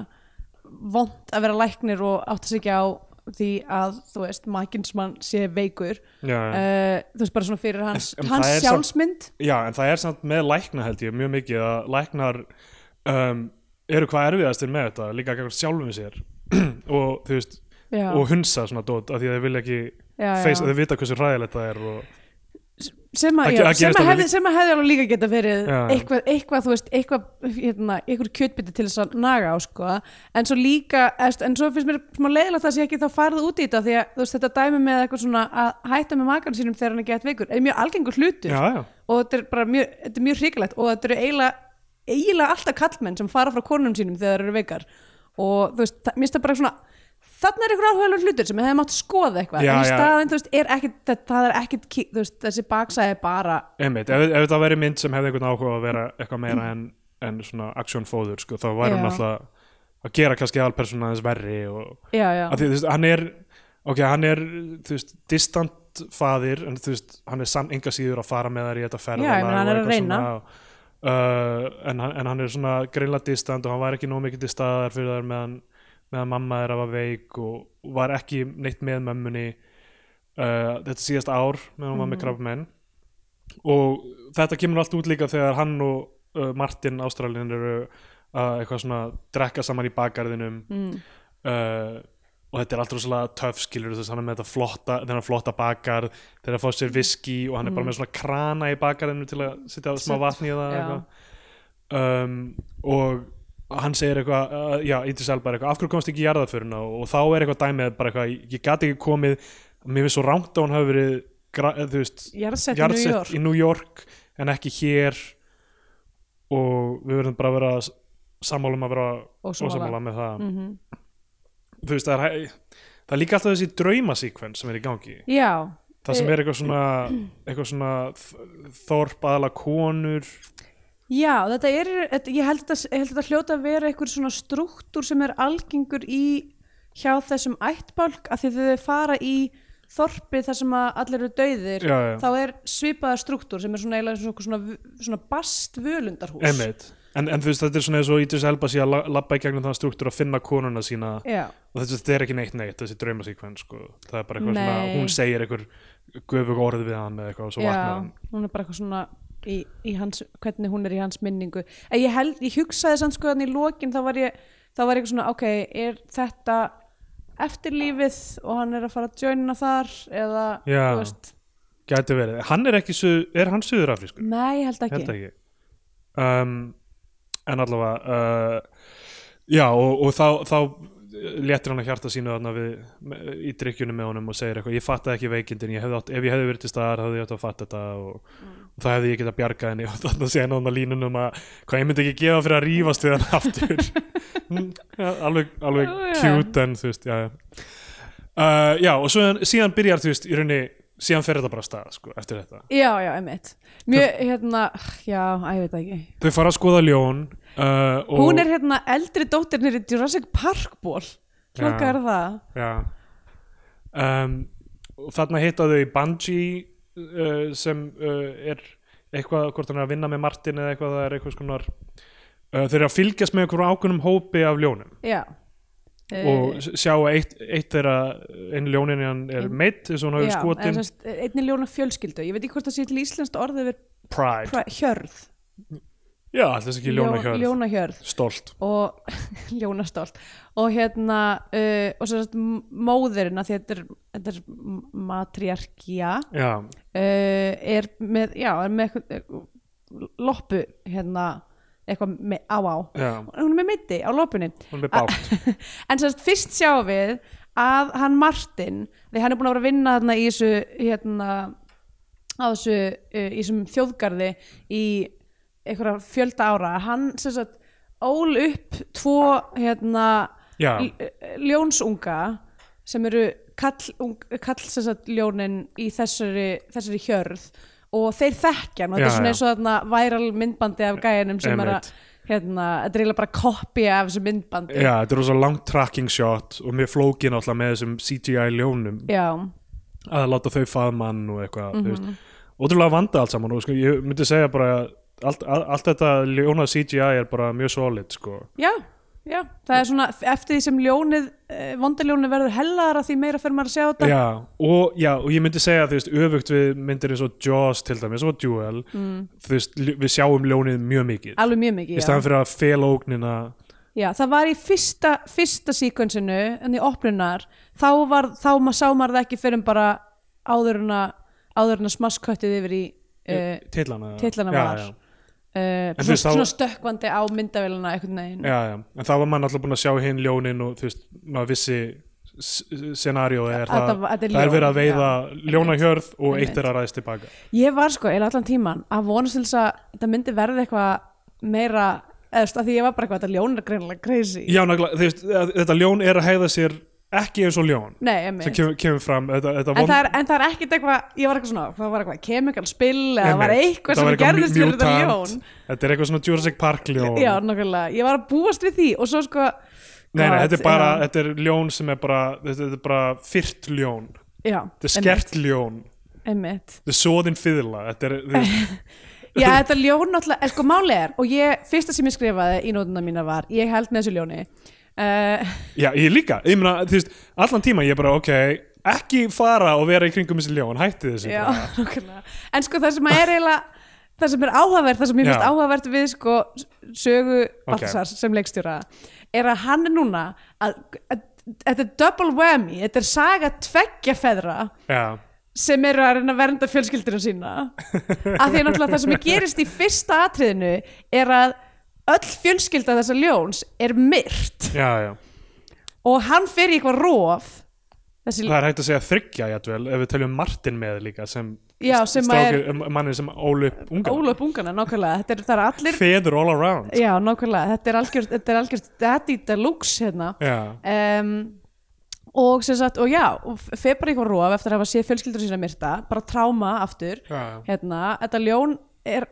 Speaker 2: vond að vera læknir og átt að segja á því að þú veist makinsmann sé veikur
Speaker 1: já, já.
Speaker 2: uh, þú veist bara svona fyrir hans,
Speaker 1: En- en
Speaker 2: hans
Speaker 1: það er samt-
Speaker 2: sjálfsmynd
Speaker 1: já, en það er samt með lækna held ég mjög mikið að læknar um, eru hvað erfiðastir með þetta líka að sjálfum sér og þú veist
Speaker 2: já,
Speaker 1: og hunsa svona dót af því að þau vilja ekki
Speaker 2: já, já.
Speaker 1: face, þau vita hversu ræðilegt það er og,
Speaker 2: sem að,
Speaker 1: Það
Speaker 2: já,
Speaker 1: ge- það
Speaker 2: sem,
Speaker 1: gerist
Speaker 2: að
Speaker 1: alveg
Speaker 2: hefði,
Speaker 1: líka.
Speaker 2: sem að hefði alveg líka geta verið
Speaker 1: Já, já.
Speaker 2: eitthvað, eitthvað, þú veist, eitthvað hérna, eitthvað kjötbytti til þess að naga á sko. en svo líka, eðst- en svo finnst mér smá leiðilegt að sé ekki þá farið út í þetta því að þú veist, þetta dæmi með eitthvað svona að hætta með makan sínum þegar hann er gett veikur er mjög algengur hlutur
Speaker 1: já, já,
Speaker 2: og þetta er bara mjög, þetta er mjög hrikalegt og þetta eru eiginlega, eiginlega alltaf kallmenn sem fara frá konum sínum þegar þeir eru veikar og þú veist, það, mér finnst það bara svona þarna er einhver áhugaður hlutur sem hefði mátt skoða eitthvað,
Speaker 1: Já,
Speaker 2: en í
Speaker 1: já.
Speaker 2: staðin þú veist, er ekkit, það, það er ekkit ki- þú veist, þessi baksæði er bara
Speaker 1: einmitt, ef, ef það væri mynd sem hefði einhvern áhuga að vera eitthvað meira en, en svona actionfóður, sko, þá væri hún
Speaker 2: Já.
Speaker 1: alltaf að gera kannski aðalpersónu aðeins verri og,
Speaker 2: já, já,
Speaker 1: að því, þú veist, hann er ok, hann er, þú veist, distant faðir, en þú veist, hann er samt enga síður að fara með þær í þetta ferðalag
Speaker 2: Já, ég meina, hann
Speaker 1: og
Speaker 2: er að
Speaker 1: eitthvað
Speaker 2: reyna.
Speaker 1: svona, uh, en, hann- en hann er svona greinlega distant og hann var ekki nóg mikið til staðar fyrir þær meðan, meðan mamma þeirra var veik og, og var ekki neitt með mömmunni uh, þetta síðast ár meðan hún var
Speaker 2: Mhm.
Speaker 1: með krafmenn og þetta kemur allt út líka þegar hann og uh, Martin Ástralin eru uh, eitthvað svona drekka saman í bakgarðinum
Speaker 2: mm.
Speaker 1: uh, og þetta er alltaf rosalega töff skilur þess að hann er með þetta flotta, þennan flotta bakgarð þegar að fá sér viski og hann er bara með svona krana í bakgarðinu til að setja smá
Speaker 2: Set-
Speaker 1: vatni í það
Speaker 2: Mm. já.
Speaker 1: eitthvað um, og hann segir eitthvað, uh, já, Idris Elba er eitthvað af hverju komst ekki í jarðaföruna og, og þá er eitthvað dæmið bara eitthvað, ég, ég gat ekki komið mér finnst svo rangt að hún hafi verið gra- eh, þú veist,
Speaker 2: Jarðsett í New
Speaker 1: jarðsett
Speaker 2: York
Speaker 1: í New York en ekki hér og við verðum bara að vera s- sammála um að vera
Speaker 2: og svo
Speaker 1: ósammála
Speaker 2: hala
Speaker 1: með það
Speaker 2: mm
Speaker 1: þú veist, það er, hæ- það er líka alltaf þessi draumasíkvens sem er í gangi
Speaker 2: Já,
Speaker 1: það
Speaker 2: Eh,
Speaker 1: sem er eitthvað svona, eitthvað svona þ- þorp aðla konur
Speaker 2: Já, þetta er, þetta- ég held að, ég held að þetta hljóta að vera einhver svona struktúr sem er algengur í hjá þessum ættbálk að því að þau fara í þorpið þar sem að allir eru dauðir
Speaker 1: já, já,
Speaker 2: þá er svipaða struktúr sem er svona eiginlega svona, svona, svona bast völundarhús
Speaker 1: einmitt en, en þú veist, þetta er svona eins og Idris Elba sé að la- labba í gegnum þann struktúr að finna konuna sína
Speaker 2: Já,
Speaker 1: og þetta, þetta er ekki neitt neitt, þessi draumasíkvens sko. það er bara eitthvað
Speaker 2: Nei.
Speaker 1: svona, hún segir eitthvað göfug orð við hann eða eitthvað og svo vaknar um-
Speaker 2: já,
Speaker 1: hann
Speaker 2: hún er bara eitthvað svona í, í hans, hvernig hún er í hans minningu en ég, held, ég hugsaði samt sko þannig í lokin þá var ég, þá var ég svona ok, er þetta eftirlífið og hann er að fara að joina þar eða,
Speaker 1: Já.
Speaker 2: þú veist
Speaker 1: gæti verið, hann er ekki su, er hann suðurafrískur?
Speaker 2: Nei, ég held ekki.
Speaker 1: held ekki um, en allavega uh, já og, og þá, þá léttir hann að hjarta sínu þarna við, me- í drikkjunum með honum og segir eitthvað ég fattaði ekki veikindin, ég hefði átt, ef ég hefði verið til staðar hefði ég átt að fatta þetta og,
Speaker 2: Mm.
Speaker 1: og það hefði ég getað bjargað henni og þarna segja hann þarna línunum að hvað ég myndi ekki gefa fyrir að rífast við hann aftur Mm, ja, alveg, alveg
Speaker 2: Já, já.
Speaker 1: cute en þú veist, já já uh, já og svo, síðan byrjar þú veist í rauninni, síðan fer þetta bara af stað sko, eftir þetta
Speaker 2: Já, já, einmitt. Mjög, hérna, já, að ég veit það ekki.
Speaker 1: Þau fara að skoða ljón uh, og,
Speaker 2: Hún er hérna eldri dóttirnir í Jurassic Park ból. Klokka
Speaker 1: Já.
Speaker 2: er það.
Speaker 1: já, um, og Þarna hitta þau Bungie uh, sem uh, er eitthvað hvort hann er að vinna með Martin eða eitthvað það er eitthvað skonar uh, þeir eru að fylgjast með einhverjum ákveðnum hópi af ljónum
Speaker 2: Já. Eh,
Speaker 1: og s- sjá að eitt, eitt þeirra einu ljónin hann er
Speaker 2: Ein-
Speaker 1: meitt eins og hún hafi
Speaker 2: Eh. já, en
Speaker 1: skotin
Speaker 2: sem sagt, einni ljóna fjölskyldu. Ég veit ekki hvort það sé til íslenskt orðið yfir
Speaker 1: Pride,
Speaker 2: pra- hjörð.
Speaker 1: já alltaf ekki ljónahjörð ljón,
Speaker 2: Ljónahjörð
Speaker 1: stolt
Speaker 2: og ljónastolt og hérna uh, og svo sagt m- móðirin að því þetta er, þetta er m- matriarkía
Speaker 1: já,
Speaker 2: uh, er með, já, er með eitthvað, uh, loppu hérna eitthvað með á á
Speaker 1: já,
Speaker 2: hún er með mitti á lopunni
Speaker 1: hún er með
Speaker 2: Ah,
Speaker 1: bátt
Speaker 2: en sérst fyrst sjáum við að hann Martin því hann er búin að vera að vinna þarna í þessu hérna á þessu uh, í þessum þjóðgarði í einhverja fjölda ára hann sérst ól upp tvo hérna
Speaker 1: já,
Speaker 2: l- ljónsunga sem eru kall, ung, kall sem sagt, ljónin í þessari, þessari hjörð og þeir þekkja hann og þetta er
Speaker 1: Já,
Speaker 2: svona
Speaker 1: já.
Speaker 2: eins og þarna væral myndbandi af gæjanum sem er að
Speaker 1: Einmitt.
Speaker 2: hérna, þetta er eiginlega bara koppi af þessu myndbandi
Speaker 1: já, þetta er svo langt tracking shot og mjög flókin alltaf með þessum CGI ljónum
Speaker 2: Já,
Speaker 1: að láta þau faðmann og eitthvað mm -hmm.
Speaker 2: Mhm.
Speaker 1: ótrúlega vanda allt saman og sko, ég myndi segja bara að allt, all- allt þetta ljóna CGI er bara mjög solid sko.
Speaker 2: já, já það er svona eftir því sem ljónið eh, vondaljónið verður hellaðara því meira fyrir maður að sjá þetta
Speaker 1: já, og, já, og ég myndi segja þú veist, öfugt við myndir eins og Jaws til dæmis og Duel mm. veist, lj- við sjáum ljónið mjög mikið
Speaker 2: alveg mjög
Speaker 1: í
Speaker 2: mikið, já.
Speaker 1: staðan fyrir að fela ógnina
Speaker 2: já það var í fyrsta, fyrsta síkvensinu en í opnunar þá, var, þá ma, sá maður það ekki fyrir en bara áður en að áður en að smaskköttið yfir í uh,
Speaker 1: titlana,
Speaker 2: titlana
Speaker 1: já,
Speaker 2: var.
Speaker 1: já.
Speaker 2: uh,
Speaker 1: þú
Speaker 2: svona,
Speaker 1: veist, þá-
Speaker 2: svona stökkvandi á myndavélina einhvern veginn
Speaker 1: Já, já. en þá var mann alltaf búin að sjá hinn ljónin og þú veist, maður vissi scenario er
Speaker 2: Að
Speaker 1: það,
Speaker 2: það- að þetta er
Speaker 1: það er verið að
Speaker 2: ljón, já.
Speaker 1: veiða ljónahjörð og eitt
Speaker 2: Einmitt.
Speaker 1: er að ræðist tilbaka
Speaker 2: ég var sko eða allan tíman að vonast til þess að þetta myndi verði eitthvað meira eða þú veist, að því ég var bara eitthvað þetta ljón er greinilega crazy
Speaker 1: Já, nákvæmlega, þú veist, að- þetta ljón er að hegða sér ekki eins og ljón
Speaker 2: Nei,
Speaker 1: sem
Speaker 2: einmitt.
Speaker 1: kemur, kemur fram þetta, þetta
Speaker 2: en, það er, en það er ekkit eitthvað ég var eitthvað svona, það var eitthvað chemical spill eða það var
Speaker 1: Einmitt.
Speaker 2: eitthvað
Speaker 1: Þetta
Speaker 2: sem
Speaker 1: var eitthvað
Speaker 2: gerðist fyrir þetta
Speaker 1: mutant.
Speaker 2: ljón
Speaker 1: Þetta er eitthvað svona Jurassic Park ljón
Speaker 2: já, nákvæmlega, ég var að búast við því og svo sko
Speaker 1: Nei, nei,
Speaker 2: God,
Speaker 1: þetta er bara,
Speaker 2: já,
Speaker 1: þetta er ljón sem er bara þetta, þetta er bara fyrt ljón
Speaker 2: já,
Speaker 1: Þetta er skert ljón,
Speaker 2: einmitt, einmitt.
Speaker 1: þetta er soðin fyðla Þetta er, þú veist,
Speaker 2: Já, þetta ljón náttúrulega, er sko máli er og ég, fyrsta sem ég skrifaði í nótuna mína var ég held með þessu ljóni uh,
Speaker 1: já, ég líka Ég meina, þú veist, allan tíma ég er bara, ok ekki fara og vera í kringum þessi ljón, hætti þessu
Speaker 2: Já,
Speaker 1: bara.
Speaker 2: nákvæmlega. En sko það sem að er eiginlega það sem er áhugavert, það sem ég finnst
Speaker 1: Já.
Speaker 2: áhugavert við sko sögu Baltasars sem leikstjóra er að hann er núna að, að, þetta er double whammy, þetta er saga tveggja feðra
Speaker 1: já,
Speaker 2: sem eru að reyna að vernda fjölskyldina sína af því að náttúrulega það sem gerist í fyrsta atriðinu er að öll fjölskylda þessa ljóns er myrt
Speaker 1: já, já
Speaker 2: og hann fer í eitthvað rof þessi,
Speaker 1: það er hægt að segja þryggja jætvel ef við teljum Martin með líka sem,
Speaker 2: já, sem að er
Speaker 1: strákur, manni um, sem ól upp unga
Speaker 2: Ólaf Bungana, nákvæmlega þetta er, það er allir,
Speaker 1: feður all around
Speaker 2: já, nákvæmlega þetta er algjörst, þetta er algjörst, þetta er deluxe hérna
Speaker 1: já,
Speaker 2: um, og sem sagt, og já og f- fer bara í eitthvað rof eftir að hafa séð fjölskyldur sína myrta, bara tráma aftur
Speaker 1: já,
Speaker 2: hérna, þetta ljón er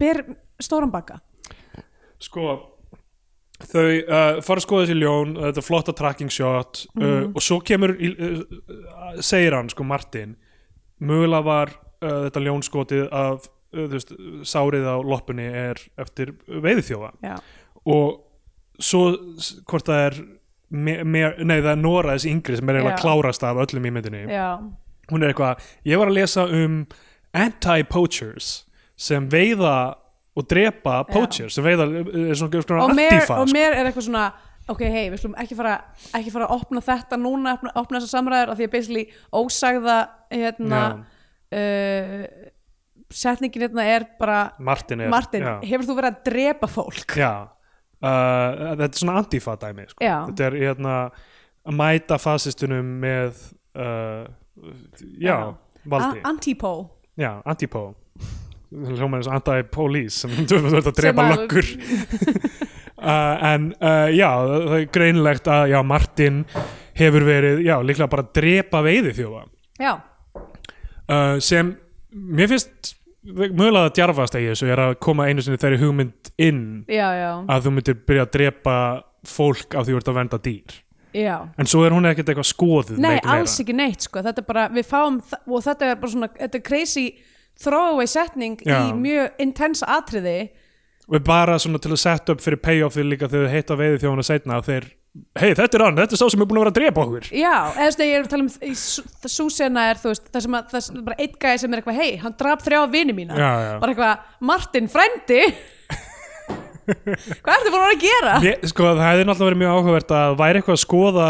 Speaker 2: ber stóran baka
Speaker 1: sko þau uh, fara að skoða þessi ljón uh, þetta flotta tracking shot uh,
Speaker 2: Mhm.
Speaker 1: og svo kemur í- uh, uh, segir hann sko Martin mögulega var uh, þetta ljón skotið af uh, þú veist, sárið á loppunni er eftir veiðiþjófa
Speaker 2: já,
Speaker 1: og svo s- hvort það er me, me, nei það er Nora þessi yngri sem er eiginlega
Speaker 2: Já.
Speaker 1: klárast af öllum í myndinni
Speaker 2: já,
Speaker 1: hún er eitthvað, ég var að lesa um anti-poachers sem veiða og drepa poachers, sem veiða er svona, svona
Speaker 2: og mér,
Speaker 1: antifa,
Speaker 2: og
Speaker 1: sko.
Speaker 2: mér er eitthvað svona ok, hei, við slum ekki fara ekki fara að opna þetta núna, opna, opna þessar samræður af því að basically ósagða hérna uh, setningin hérna er bara
Speaker 1: Martin er
Speaker 2: Martin,
Speaker 1: já,
Speaker 2: hefur þú verið að drepa fólk?
Speaker 1: já. Uh, þetta er svona antifa dæmi sko.
Speaker 2: Já.
Speaker 1: þetta er hérna að mæta fasistunum með uh, já,
Speaker 2: Já.
Speaker 1: valdi
Speaker 2: A- Antipó
Speaker 1: já, antipó hljóma eins og anti-police sem þú ert að
Speaker 2: Sem
Speaker 1: drepa
Speaker 2: að-
Speaker 1: löggur uh, en uh, já, það er greinlegt að já, Martin hefur verið, já, líklega bara að drepa veiði þjófa
Speaker 2: Já,
Speaker 1: uh, sem mér finnst mögulega að djarfast að ég þessu er að koma einu sinni þeirri hugmynd inn
Speaker 2: já, já,
Speaker 1: að þú myndir byrja að drepa fólk af því þú ert að venda dýr
Speaker 2: já
Speaker 1: en svo er hún ekkert eitthvað skoðuð
Speaker 2: Nei,
Speaker 1: neitt meira.
Speaker 2: alls ekki neitt sko, þetta er bara við fáum, þa- og þetta er bara svona þetta er crazy throwaway setning
Speaker 1: Já.
Speaker 2: í mjög intense atriði
Speaker 1: og er bara svona til að setja upp fyrir payoffið líka þegar þau heita veiði þjóðuna setna að þeir, hei þetta er hann, þetta er sá sem er búin að vera að drepa okkur
Speaker 2: Já, eða svona ég er að tala um Súsena er, þú veist, það sem að það er bara einn gæði sem er eitthvað, hei, hann draf þrjá vini mína,
Speaker 1: Já, já.
Speaker 2: bara eitthvað, Martin frændi Hvað ertu búin að vera að gera?
Speaker 1: Ég, sko það hefði náttúrulega verið mjög áhugavert að væri eitthvað að skoða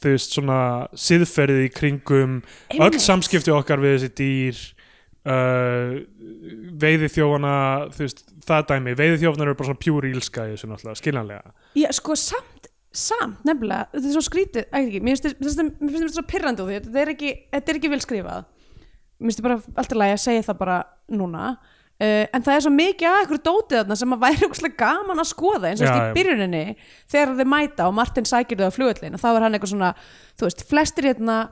Speaker 1: þú veist svona siðferðið í kringum öll
Speaker 2: Einmitt.
Speaker 1: samskipti okkar við þessi dýr uh, veiði þjóðana þú veist það dæmi, veiði þjóðanar eru bara svona pjúri ílska í þessu náttúrulega, skiljanlega
Speaker 2: Já, sko, samt, samt, nefnilega þetta er svo skrítið, ekki ekki, mér finnst þetta mér finnst þetta svo pirrandi á því, þetta er ekki þetta er ekki vel skrifað, mér finnst þetta bara allt í lagi að segja það bara núna uh, en það er svo mikið að einhverju dótið þarna sem að væri okkslega gaman að skoða eins og
Speaker 1: Já,
Speaker 2: þetta
Speaker 1: já.
Speaker 2: í byrjuninni, þegar þau mæta og Martin sækir þau á flugullin og þá er hann eitthvað svona, þú veist, flestir hérna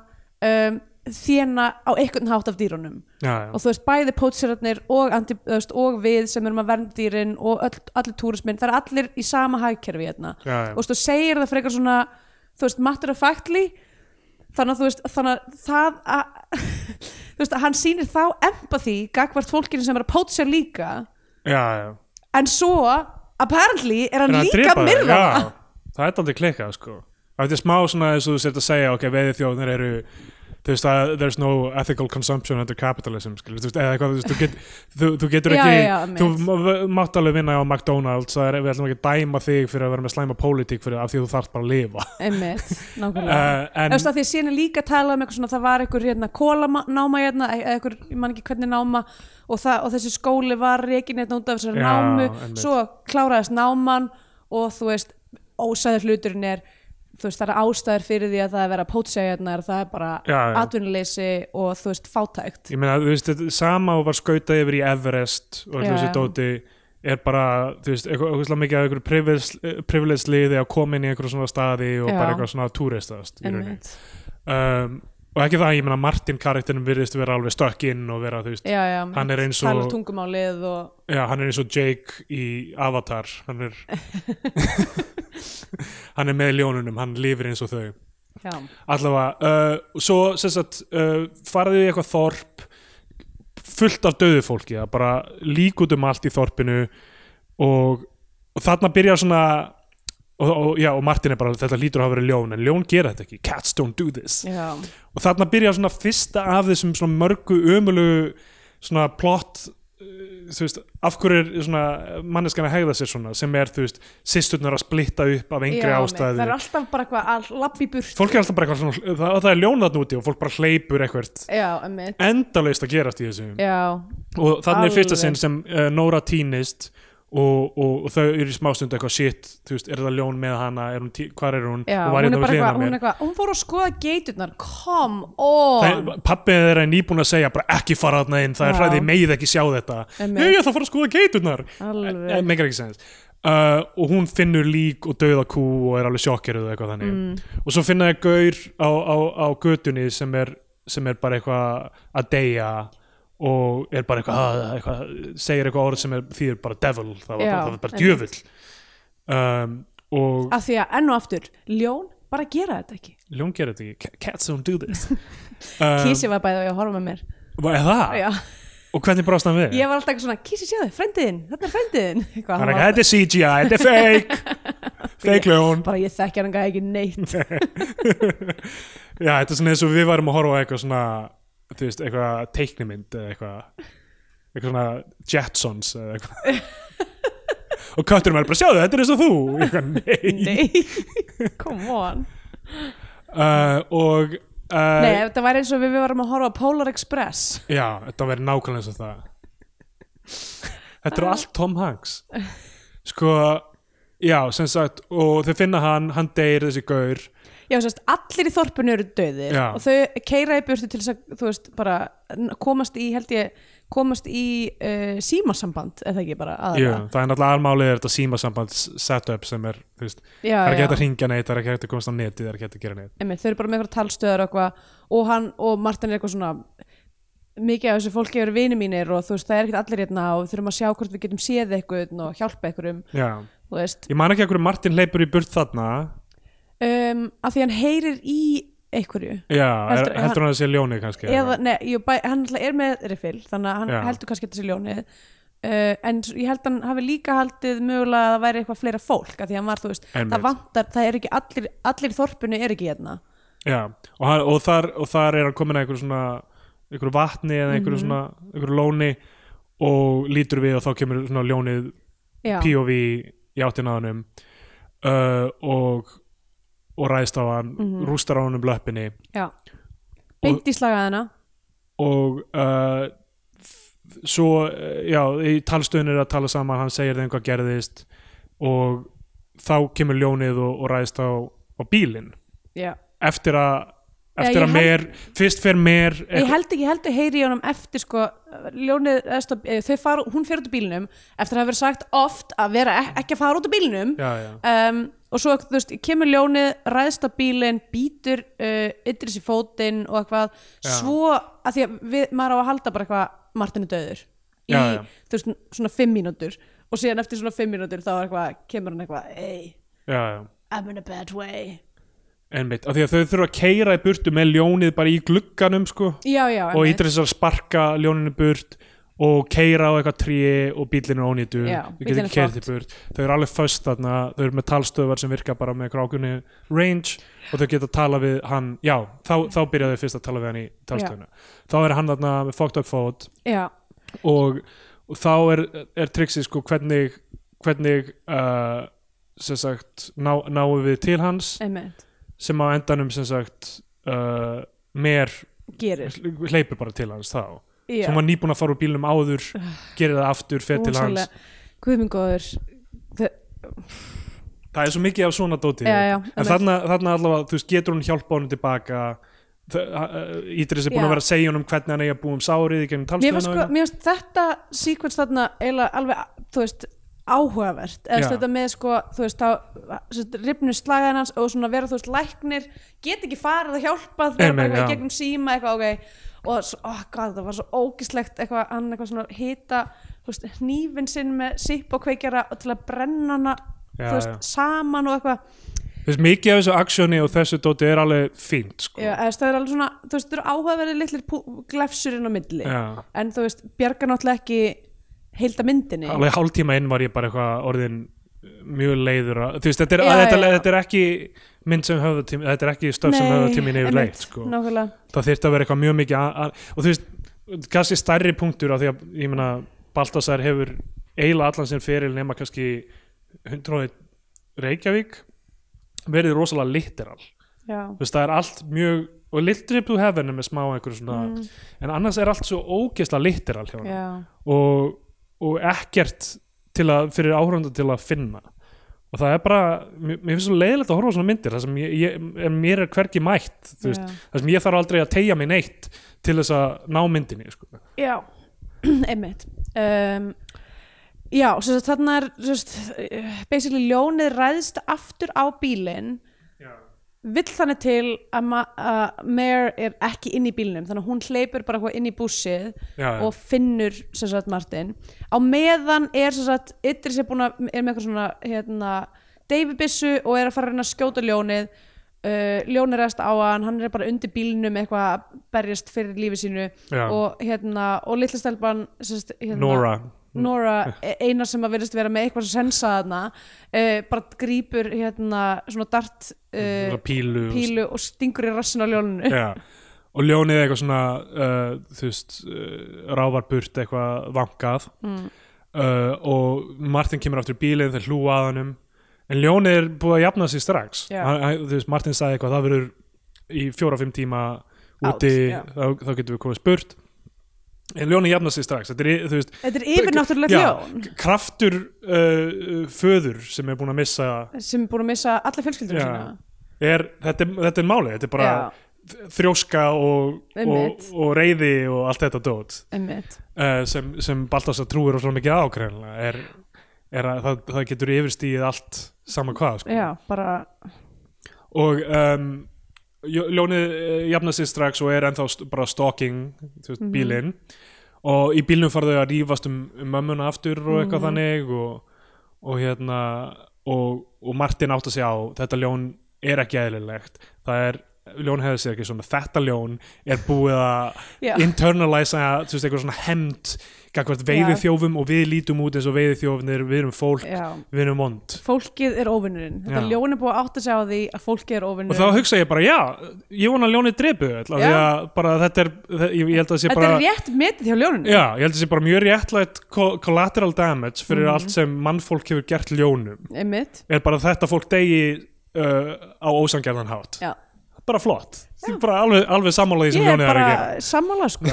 Speaker 2: um, þéna á einhvern hátt af dýrunum
Speaker 1: já, já,
Speaker 2: Ah. og þú veist bæði pótsirarnir og, anti, þú veist, og við sem erum að verndýrin og öll, allir túrismin, það er allir í sama hagkerfi hérna
Speaker 1: Já, já.
Speaker 2: og þú veist, þú segir það frekar svona þú veist, matter of factly þannig að þú veist, þannig að það að, þú veist, að hann sýnir þá empathy gagvart fólkinu sem er að pótsir líka
Speaker 1: já, já.
Speaker 2: en svo, apparently er hann
Speaker 1: Er hann að
Speaker 2: líka
Speaker 1: drepa þau?
Speaker 2: myrða það.
Speaker 1: Já, það er aldrei klikkað sko Það er smá svona eins og þú sért að segja ok, veiði þjóðnir eru þú veist að there's no ethical consumption under capitalism skilur, þú veist, eða eitthvað, þú, veist, þú, get, þú, þú getur
Speaker 2: Já,
Speaker 1: ekki
Speaker 2: já, já,
Speaker 1: þú m- mátt alveg vinna á McDonalds það er, við ætlum ekki að dæma þig fyrir að vera með slæma pólitík fyrir af því að þú þarft bara að lifa
Speaker 2: einmitt, nákvæmlega
Speaker 1: uh,
Speaker 2: Þú
Speaker 1: en
Speaker 2: veist að því að síðan er líka að tala um eitthvað svona það var einhver hérna kólanáma hérna eða einhver, ég man ekki hvernig náma og, það, og þessi skóli var reikin hérna út af þessari
Speaker 1: Já,
Speaker 2: námu
Speaker 1: einmitt.
Speaker 2: svo kláraðist náman og þú veist ósæður hluturinn er þú veist það er ástæður fyrir því að það er verið að pótsja hérna er það er bara
Speaker 1: Já, já.
Speaker 2: atvinnuleysi og þú veist fátækt
Speaker 1: ég meina, þú veist, þetta sama og var skautað yfir í Everest
Speaker 2: Já,
Speaker 1: og allir þessi
Speaker 2: já.
Speaker 1: dóti er bara, þú veist, eitthvað ógeðslega mikið af einhverju privilege- eh, privilege liði að koma inn í einhverju svona staði og
Speaker 2: Já.
Speaker 1: bara eitthvað svona túristast í rauninni
Speaker 2: Einmitt.
Speaker 1: um, og ekki það, ég meina Martin karakterin virðist vera alveg stökk inn og vera, þú veist,
Speaker 2: já, já,
Speaker 1: Hann er eins
Speaker 2: talar
Speaker 1: og-
Speaker 2: tungumálið og
Speaker 1: já, hann er eins og Jake í Avatar, hann er hann er með ljónunum, hann lifir eins og þau
Speaker 2: já,
Speaker 1: allavega, uh, svo sem sagt uh, farðu í eitthvað þorp fullt af döðu fólki það bara lík út um allt í þorpinu og, og þarna byrjar svona og, og, já, og Martin er bara, þetta lítur að hafa verið ljón en ljón gera þetta ekki, cats don't do this
Speaker 2: já,
Speaker 1: og þarna byrja svona fyrsta af þessum svona mörgu ömulu svona plott þú veist, af hverju er svona manneskan að hegða sér svona sem er, þú veist, sýsturnar að splitta upp af engri
Speaker 2: Já, nei, það
Speaker 1: ástæðu
Speaker 2: er alltaf bara eitthvað að lappa í burt
Speaker 1: fólk er alltaf bara eitthvað svona, það, það er ljón þarna úti og fólk bara hleypur eitthvað
Speaker 2: já, emmitt
Speaker 1: endalaust að gerast í þessu
Speaker 2: já,
Speaker 1: og þannig er fyrsta
Speaker 2: Alveg.
Speaker 1: sinn sem uh, Nora týnist og, og, og þau eru í smástund eitthvað shit, þú veist, er það ljón með hana er hún, tí- hvar er hún,
Speaker 2: já hún
Speaker 1: hún var
Speaker 2: er
Speaker 1: hérna
Speaker 2: bara
Speaker 1: við hliðina á
Speaker 2: eitthvað hún,
Speaker 1: mér
Speaker 2: er eitthvað, hún fór að skoða geiturnar come on
Speaker 1: Það- pabbi þeirra er nýbúin að segja bara ekki fara þarna inn, það er
Speaker 2: Já.
Speaker 1: hræðið megið ekki sjá þetta
Speaker 2: Einmitt.
Speaker 1: nei, ég ætla að fara að skoða geiturnar
Speaker 2: Alveg.
Speaker 1: Eh, eh, megar ekki sens uh, og hún finnur lík og dauða kú og er alveg sjokkeruð og eitthvað þannig
Speaker 2: Mm.
Speaker 1: og svo finna ég gaur á, á, á götunni sem er, sem er bara eitthvað að deyja og er bara eitthvað, að- eitthvað segir eitthvað orð sem er, þýðir bara devil það var,
Speaker 2: Já,
Speaker 1: bara, það var bara
Speaker 2: einmitt.
Speaker 1: djöfull um, og
Speaker 2: af því að enn og aftur, ljón bara gera þetta ekki
Speaker 1: ljón gerir þetta ekki cats don't do this Um.
Speaker 2: kísi var bæðið að horfa með mér
Speaker 1: var það?
Speaker 2: já,
Speaker 1: og hvernig brást hann við?
Speaker 2: ég var alltaf eitthvað svona, kísi séðu, frendiðin þetta er frendiðin eitthvað,
Speaker 1: hann er
Speaker 2: hann
Speaker 1: ekki,
Speaker 2: var
Speaker 1: þetta er CGI, þetta er fake fake ljón
Speaker 2: bara ég þekki hann ekki neitt
Speaker 1: já, þetta er svona eins og við varum að horfa á eitthvað svona þú veist, eitthvað teiknimynd eða eitthvað eitthvað svona Jetsons eða eitthvað og kötturum er bara, sjáðu, þetta er eins og þú eitthvað, nei,
Speaker 2: nei, come on
Speaker 1: Uh, og uh,
Speaker 2: nei, þetta var eins og við, við varum að horfa á Polar Express
Speaker 1: já, þetta verður nákvæmlega eins og það þetta eru allt Tom Hanks sko, já, sem sagt og þau finna hann, hann deyr þessi gaur
Speaker 2: Já, sérst, allir í þorpinu eru döðir
Speaker 1: Já.
Speaker 2: og þau keira í burtu til þess að þú veist, bara n- komast í, held ég komast í uh, símasamband eða ekki bara
Speaker 1: Jú,
Speaker 2: aðra
Speaker 1: það er náttúrulega almálið er þetta símasamband setup sem er, þú veist,
Speaker 2: Já,
Speaker 1: það er
Speaker 2: já.
Speaker 1: ekki hægt að ringja neitt, það er ekki hægt að komast á netið, það er ekki hægt að gera neitt.
Speaker 2: Einmitt, þau eru bara með eitthvað talstöðar og eitthvað og hann og Martin er eitthvað svona mikið af þessu fólki eru vini mínir og þú veist, það er ekkert allir hérna og við þurfum að sjá hvort við getum séð eitthvað og hjálpa eitthvað um,
Speaker 1: Já,
Speaker 2: þú veist
Speaker 1: ég man ekki að hverju Martin hleypur í burt þarna,
Speaker 2: um, að því hann heyrir í einhverju
Speaker 1: já, er,
Speaker 2: Heldur-
Speaker 1: heldur hann að sé ljónið kannski.
Speaker 2: eða, nei, jú, bæ, hann náttúrulega er með riffil þannig að hann
Speaker 1: Já.
Speaker 2: heldur kannski þessi ljónið uh, en s- ég held að hann hafi líka haldið mögulega að það væri eitthvað fleira fólk að því að hann var, þú veist,
Speaker 1: Einmitt.
Speaker 2: það vantar það er ekki allir, allir í þorpinu er ekki hérna
Speaker 1: Já, og, hann, og, þar, og þar er hann komin að einhverju svona, einhverju vatni eða einhverju svona, einhverju lóni og lítur við og þá kemur svona ljónið
Speaker 2: já,
Speaker 1: POV í áttinaðanum uh, og, og ræðist á hann,
Speaker 2: Mhm.
Speaker 1: rústar á hann um löppinni
Speaker 2: já. beint í slagaðina
Speaker 1: og uh, f- svo, uh, já, í talstöðun er að tala saman, hann segir þeim hvað gerðist og þá kemur ljónið og, og ræðist á, á bílinn
Speaker 2: já.
Speaker 1: eftir að
Speaker 2: ég
Speaker 1: eftir að
Speaker 2: held-
Speaker 1: mér, fyrst fer mér
Speaker 2: ég held ekki, ég held að heyri í honum eftir sko, ljónið, eða, stó- eh, þau fara hún fer út úr bílnum, eftir að hafa verið sagt oft að vera ek- ekki að fara út úr bílnum
Speaker 1: já, já,
Speaker 2: um, og svo þú veist, kemur ljónið ræðst á bílinn, býtur uh, ytris í fótinn og eitthvað
Speaker 1: Já.
Speaker 2: svo, að því að við, maður á að halda bara eitthvað, Martin er döður í,
Speaker 1: Já, já.
Speaker 2: þú veist, svona fimm mínútur og síðan eftir svona fimm mínútur þá er eitthvað kemur hann eitthvað, hey,
Speaker 1: já, já
Speaker 2: I'm in a bad way
Speaker 1: einmitt, af því að þau þurfa að keira í burtu með ljónið bara í glugganum sko
Speaker 2: já, já,
Speaker 1: og
Speaker 2: einmitt.
Speaker 1: ítir þess að sparka ljóninu burt og keira á eitthvað tríi og bílinu ónýtu
Speaker 2: Já,
Speaker 1: þau
Speaker 2: bíllinn er
Speaker 1: getur ekki keirið
Speaker 2: flott.
Speaker 1: í burt þau eru alveg föst þarna, þau eru með talstöðvar sem virka bara með grákunni range og þau geta að tala við hann já, þá, þá byrjaðu þau fyrst að tala við hann í talstöðuna þá er hann þarna með fucked up fót
Speaker 2: já,
Speaker 1: og, og þá er, er triksi sko hvernig hvernig uh, sem sagt, ná, náum við til hans
Speaker 2: einmitt,
Speaker 1: sem á endanum sem sagt uh, mér
Speaker 2: gerir
Speaker 1: hleypur bara til hans þá
Speaker 2: já,
Speaker 1: sem var nýbúin að fara úr bílnum áður gerir það aftur, fer til hans
Speaker 2: guðmengóður
Speaker 1: það er svo mikið af svona dóti
Speaker 2: Já, já,
Speaker 1: en
Speaker 2: einmitt.
Speaker 1: þarna, þarna allavega, þú veist, getur hún hjálpa honum tilbaka Ídris er búin
Speaker 2: Já.
Speaker 1: að vera að segja honum hvernig hann eigi að búa um sárið í gegnum
Speaker 2: mér finnst sko,
Speaker 1: talstöðuna
Speaker 2: mér finnst þetta sequence þarna eiginlega alveg, þú veist áhugavert, eða
Speaker 1: Já.
Speaker 2: þess, þetta með sko þú veist, þá ripnir slagaðan hans og svona vera, þú veist, læknir get ekki farið að hjálpa þegar
Speaker 1: Einmitt,
Speaker 2: bara eitthvað í
Speaker 1: já.
Speaker 2: gegnum síma eitthvað, ok og svo, oh, god, það var svo ógislegt eitthvað, hann eitthvað svona hita þú veist, hnífin sinn með sipp og kveikjara og til að brenna hana
Speaker 1: Já,
Speaker 2: þú veist,
Speaker 1: já.
Speaker 2: saman og eitthvað
Speaker 1: Þú veist, mikið af þessu aksjóni og þessu dóti er alveg fínt sko.
Speaker 2: Já, eða, þú veist, það er alveg svona, þú veist, það eru áhugaverið litlir pú- glefsur inn á milli
Speaker 1: Já.
Speaker 2: en þú veist, bjarga náttúrulega ekki heilda myndinni
Speaker 1: alveg hálftíma inn var ég bara eitthvað orðin mjög leiður að, þú veist, þetta er,
Speaker 2: Já,
Speaker 1: þetta,
Speaker 2: já, já.
Speaker 1: þetta er ekki mynd sem höfðatími, þetta er ekki stöf sem höfðatímin yfir
Speaker 2: einmitt,
Speaker 1: leitt sko.
Speaker 2: nákvæmlega.
Speaker 1: það þyrfti að vera eitthvað mjög mikið að, að, og þú veist, kannski stærri punktur af því að, ég meina Baltasar hefur eiginlega allan sinn feril nema kannski 100 Reykjavík verið rosalega litteral
Speaker 2: já,
Speaker 1: þú veist það er allt mjög og littrip to heaven er með smá einhverju svona
Speaker 2: Mm.
Speaker 1: en annars er allt svo ógeðslega litteral hjá hann
Speaker 2: já,
Speaker 1: og, og ekkert til að, fyrir áhörðandi til að finna og það er bara, mér, mér finnst svo leiðilegt að horfa á svona myndir þar sem ég, ég, en mér er hvergi mætt þú veist,
Speaker 2: já.
Speaker 1: þar sem ég þarf aldrei að tegja mig neitt til þess að ná myndinni sko.
Speaker 2: Já, einmitt um, Já, svo að þarna er svo að basically ljónið ræðst aftur á bílinn vill þannig til að, ma- að Mare er ekki inn í bílnum þannig að hún hleypur bara eitthvað inn í bússið
Speaker 1: já, já,
Speaker 2: og finnur sem sagt Martin á meðan er sem sagt Idris er búin að er með eitthvað svona hérna Davidbissu og er að fara að reyna að skjóta ljónið uh, ljónið rest á hann, hann er bara undir bílnum eitthvað að berjast fyrir lífi sínu
Speaker 1: já.
Speaker 2: og hérna, og litla stelpan sem sagt, hérna,
Speaker 1: Nora
Speaker 2: Nora, e- eina sem að virðist vera með eitthvað sem sensa þarna uh, bara grípur hérna svona dart uh,
Speaker 1: uh, pílu, og-
Speaker 2: pílu og stingur í rassin á ljóninu
Speaker 1: já. og ljónið er eitthvað svona uh, þú veist, uh, rávar burt eitthvað vangað
Speaker 2: mm.
Speaker 1: uh, og Martin kemur aftur í bílinn þeir hlúa að hannum en ljónið er búið að jafna sig strax
Speaker 2: Já.
Speaker 1: hann, hann, þú veist, Martin sagði eitthvað, það verður í fjóra-fimm tíma
Speaker 2: Out,
Speaker 1: úti
Speaker 2: já.
Speaker 1: þá, þá getum við komið spurt en ljónið jafna sig strax þetta er, í- þú veist,
Speaker 2: þetta er yfirnáttúrulega
Speaker 1: Já.
Speaker 2: ljón
Speaker 1: kraftur uh, föður sem er búin að missa
Speaker 2: sem er búin að missa alla fjölskyldur
Speaker 1: Já.
Speaker 2: sína
Speaker 1: er, þetta, er- þetta er málið, þetta er bara
Speaker 2: Já,
Speaker 1: þrjóska og, og,
Speaker 2: Einmitt.
Speaker 1: og reyði og allt þetta dót
Speaker 2: einmitt
Speaker 1: uh, sem, sem Baltasar trúir og svona mikið ákveðinlega er, er að það, það getur yfirstíð allt saman hvað sko.
Speaker 2: Já, bara,
Speaker 1: og um, ljó- ljónið eh, jafnar sér strax og er ennþá st bara stalking þú veist,
Speaker 2: Mhm.
Speaker 1: bílinn og í bílnum farðu að rífast um, um mömmuna aftur
Speaker 2: Mhm.
Speaker 1: og eitthvað þannig og, og hérna og, og Martin átt að segja á þetta ljón er ekki eðlilegt það er, ljón hefði sér ekki svona þetta ljón er búið að
Speaker 2: já,
Speaker 1: internalize þú veist, eitthvað svona hemmt gagvart veiði þjófum og við lítum út eins og veiði þjófnir, við erum fólk,
Speaker 2: já
Speaker 1: við erum vond
Speaker 2: Fólkið er óvinnurinn Þetta
Speaker 1: Já.
Speaker 2: ljón er búið að átta sig á því að fólkið er
Speaker 1: og þá
Speaker 2: óvinnurinn
Speaker 1: hugsa ég bara, já, ég vona að ljónið drepu öll, af því
Speaker 2: Já.
Speaker 1: að bara þetta er þe- ég, ég held að það sé
Speaker 2: Þetta
Speaker 1: bara
Speaker 2: er rétt metið hjá ljóninu
Speaker 1: já, ég held að það sé bara mjög réttlægt co- collateral damage fyrir
Speaker 2: Mhm.
Speaker 1: allt sem mannfólk hefur gert ljónum,
Speaker 2: Einmitt
Speaker 1: er bara þetta fólk degi uh, á ósangjæðan hátt
Speaker 2: Já.
Speaker 1: bara flott, Ég er bara alveg, alveg sammála því sem
Speaker 2: Ég er
Speaker 1: ljónið er að
Speaker 2: bara
Speaker 1: gera
Speaker 2: sammála sko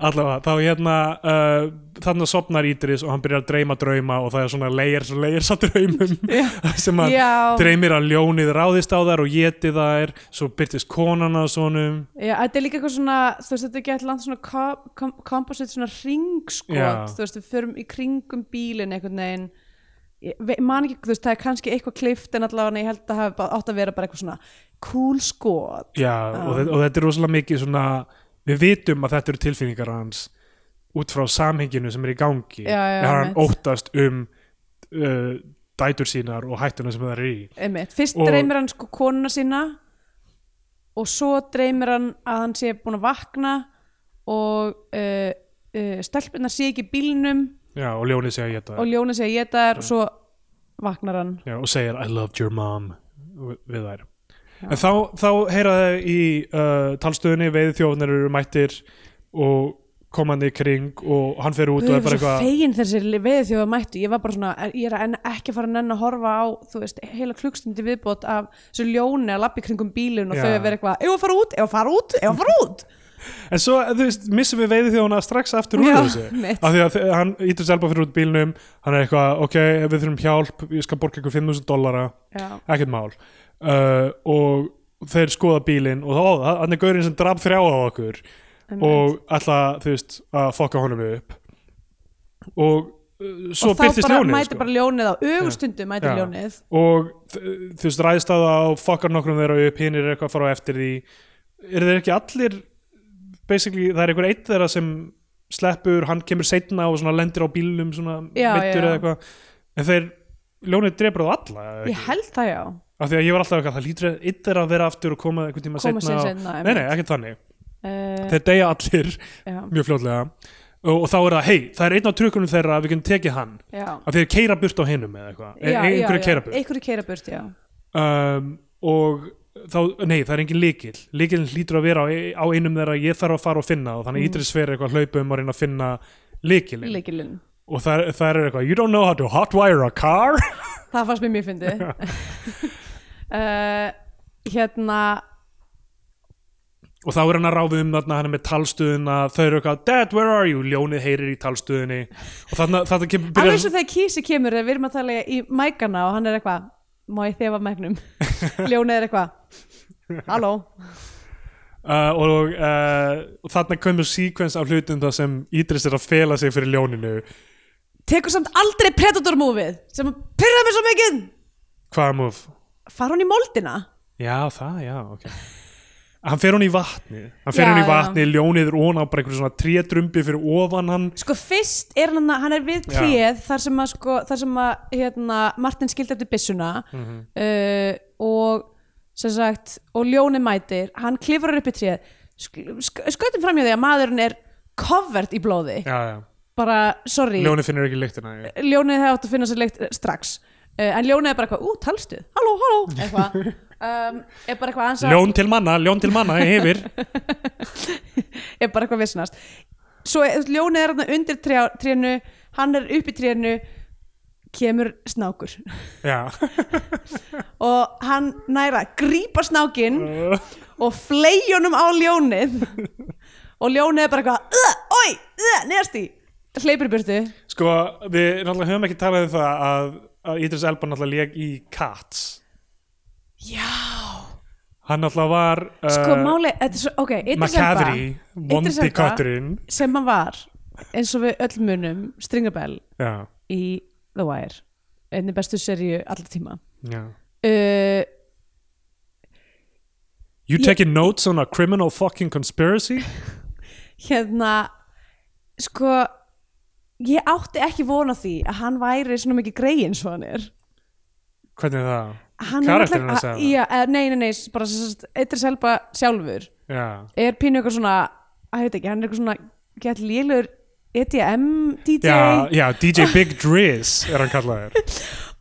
Speaker 1: allavega, þá hérna uh, þannig að sopnar Ídris og hann byrjar að dreyma drauma og það er svona layers og layers að draumum sem að
Speaker 2: Já,
Speaker 1: dreymir að ljónið ráðist á þær og geti þær, svo byrtist konan að svonum,
Speaker 2: já, þetta er líka eitthvað svona þú veist, þetta er gett langt svona kom, kom, komposið svona ringskot
Speaker 1: Já.
Speaker 2: þú veist, við förum í kringum bílinn einhvern veginn ég ve- man ekki, þú veist, það er kannski eitthvað klift en allavega ég held að það hafi bara- átt að vera bara eitthvað svona cool skot
Speaker 1: já, og, þetta, og þetta er rosalega mikið svona, við vitum að þetta eru tilfinningar hans út frá samhenginu sem er í gangi
Speaker 2: Já, já,
Speaker 1: Þegar hann
Speaker 2: einmitt.
Speaker 1: óttast um uh, dætur sínar og hættuna sem það er í
Speaker 2: Einmitt. Fyrst
Speaker 1: Og-
Speaker 2: dreymir hann sko konuna sína og svo dreymir hann að hann sé búin að vakna og uh, uh, stelpunnar sé ekki í bílnum
Speaker 1: já, og ljónið segja ég
Speaker 2: og
Speaker 1: þetta
Speaker 2: ljóna sé að ég það er og svo vaknar hann
Speaker 1: já, og segir I loved your mom við við þær en þá, þá heyra þau í uh, talstöðinni, veið þjófnir eru mættir og komandi í kring og hann fer út
Speaker 2: Guð,
Speaker 1: og
Speaker 2: ég
Speaker 1: er bara
Speaker 2: var svo
Speaker 1: eitthvað
Speaker 2: fegin þessi veið þjóða mættu ég var bara svona, er- ég er enn ekki að fara að nenn að horfa á þú veist, heila klukkstundi viðbót af þessu ljóni að lappi kringum bílun og
Speaker 1: Já.
Speaker 2: þau að vera eitthvað, ef að fara út, ef að fara út ef að fara út,
Speaker 1: En svo, þú veist, missum við veiði þjóna strax aftur úr
Speaker 2: Já,
Speaker 1: þessu
Speaker 2: mitt.
Speaker 1: Af því að þe- hann ítur selba fyrir út bílnum Hann er eitthvað, ok, ef við þurfum hjálp Ég skal borga ykkur 5.000 dollara
Speaker 2: já,
Speaker 1: Ekkert mál uh, Og þeir skoða bílinn Og þá, ó, hann er gaurinn sem draf þrjá á okkur
Speaker 2: einmitt.
Speaker 1: Og ætla, þú veist, að fokka honum upp Og uh, svo
Speaker 2: og þá
Speaker 1: byrtist
Speaker 2: bara
Speaker 1: ljónið
Speaker 2: mæti bara ljónið á ögustundu mæti
Speaker 1: Já.
Speaker 2: ljónið
Speaker 1: og þ- þú veist ræðist að það og fokkar nokkrum þeirra upp hinn er eitthvað að fara á eftir því eru þeir ekki allir basically það er einhver eitt þeirra sem sleppur, hann kemur seinna og svona lendir á bílnum svona
Speaker 2: Já, já.
Speaker 1: meiddur eða eitthvað en þeir, ljónið drepur það alla eða
Speaker 2: Ég
Speaker 1: ekki?
Speaker 2: held það já,
Speaker 1: af því að ég var alltaf eitthvað, það lítur eitt þeirra að vera aftur og koma einhvern tíma
Speaker 2: koma sér
Speaker 1: seinna og...
Speaker 2: senna
Speaker 1: nei, nei, ekki þannig,
Speaker 2: uh,
Speaker 1: þeir deyja allir
Speaker 2: já,
Speaker 1: mjög fljótlega og, og þá er það, hei, það er einn á trukkunum þeirra við getum tekið hann,
Speaker 2: já.
Speaker 1: af því þeir keira burt á hinum eða eitthvað,
Speaker 2: já,
Speaker 1: einhverju
Speaker 2: já,
Speaker 1: keira burt
Speaker 2: já. einhverju keira burt, já
Speaker 1: um, og þá, nei, það er engin líkil e, líkilin hlýtur að vera á, á einum þeirra ég þarf að fara og finna og þannig
Speaker 2: Mm.
Speaker 1: Ídris fer eitthvað að hlaupa um að reyna að finna lykilinn
Speaker 2: leikilinn
Speaker 1: og það, það er eitthvað, you don't know how to hotwire a car
Speaker 2: það fannst mér mjög fyndið uh, hérna
Speaker 1: og þá er hann að ráfið um þarna hann er með talstöðuna, þau eru eitthvað dad, where are you, ljónið heyrir í talstöðunni og þarna, þarna kemur
Speaker 2: alveg eins
Speaker 1: byrjar,
Speaker 2: og þegar kísi kemur við erum að tala í mækana og hann er eitthvað má ég þefa mæknum ljónið er eitthvað halló
Speaker 1: uh, og uh, og þarna kemur sequence af hlutum það sem Ídris er að fela sig fyrir ljóninu
Speaker 2: tekur samt aldrei Predator movie sem pyrra mér svo mikið
Speaker 1: hvaða múf?
Speaker 2: fara hún í moldina
Speaker 1: Já, það, já, ok hann fer hún í vatni hann fer
Speaker 2: Já,
Speaker 1: hún í
Speaker 2: já.
Speaker 1: vatni, ljónið er ón á bara einhverjum svona trédrumbi fyrir ofan hann
Speaker 2: sko fyrst er hann hann er við
Speaker 1: Já.
Speaker 2: tréð þar sem að sko þar sem að hérna Martin skildi eftir byssuna
Speaker 1: Mhm.
Speaker 2: uh, og sem sagt og ljónið mætir hann klifrar upp í tréð sk sk skautum framjá því að maðurinn er covert í blóði
Speaker 1: já, já,
Speaker 2: bara sorry
Speaker 1: ljónið finnur ekki lyktina já.
Speaker 2: ljónið hefði átt að finna sér leikt eh, strax uh, en ljónið er bara eitthvað, ú, talstuð halló, halló, eitthvað um, er bara eitthvað aðeins að,
Speaker 1: ljón til manna, ljón til manna, yfir
Speaker 2: er bara eitthvað vissnast svo eh, ljónið er þarna undir trjá, trénu hann er upp í trénu kemur snákur
Speaker 1: já,
Speaker 2: og hann næra grípa snákin og fleigjónum á ljónið og ljónið er bara eitthvað "Ugh, oj, ugh, neðast í hleypir í burtu
Speaker 1: sko, við náttúrulega höfum ekki talað um það að, að Idris Elba náttúrulega lék í Cats
Speaker 2: já,
Speaker 1: hann náttúrulega var uh,
Speaker 2: sko máli, þetta er svo, ok Idris Elba-
Speaker 1: McCavery,
Speaker 2: Idris
Speaker 1: vondi
Speaker 2: Elba-
Speaker 1: kötturinn
Speaker 2: sem hann var eins og við öll munum Stringabell
Speaker 1: já,
Speaker 2: í The Wire einni bestu seríu allra tíma
Speaker 1: já
Speaker 2: uh,
Speaker 1: You taking notes on a criminal fucking conspiracy?
Speaker 2: hérna sko ég átti ekki vona því að hann væri svona mikið greið eins og hann er
Speaker 1: Hvernig er það?
Speaker 2: hann náttúrulega-
Speaker 1: Karakterinn hans eða?
Speaker 2: já, eh, nei, nei, nei, bara eittir selba sjálfur
Speaker 1: Já,
Speaker 2: er pínu eitthvað svona að hefði ekki, hann er eitthvað svona E gett lélugur EDM DJ
Speaker 1: já, já, DJ Big Driz er hann kallaður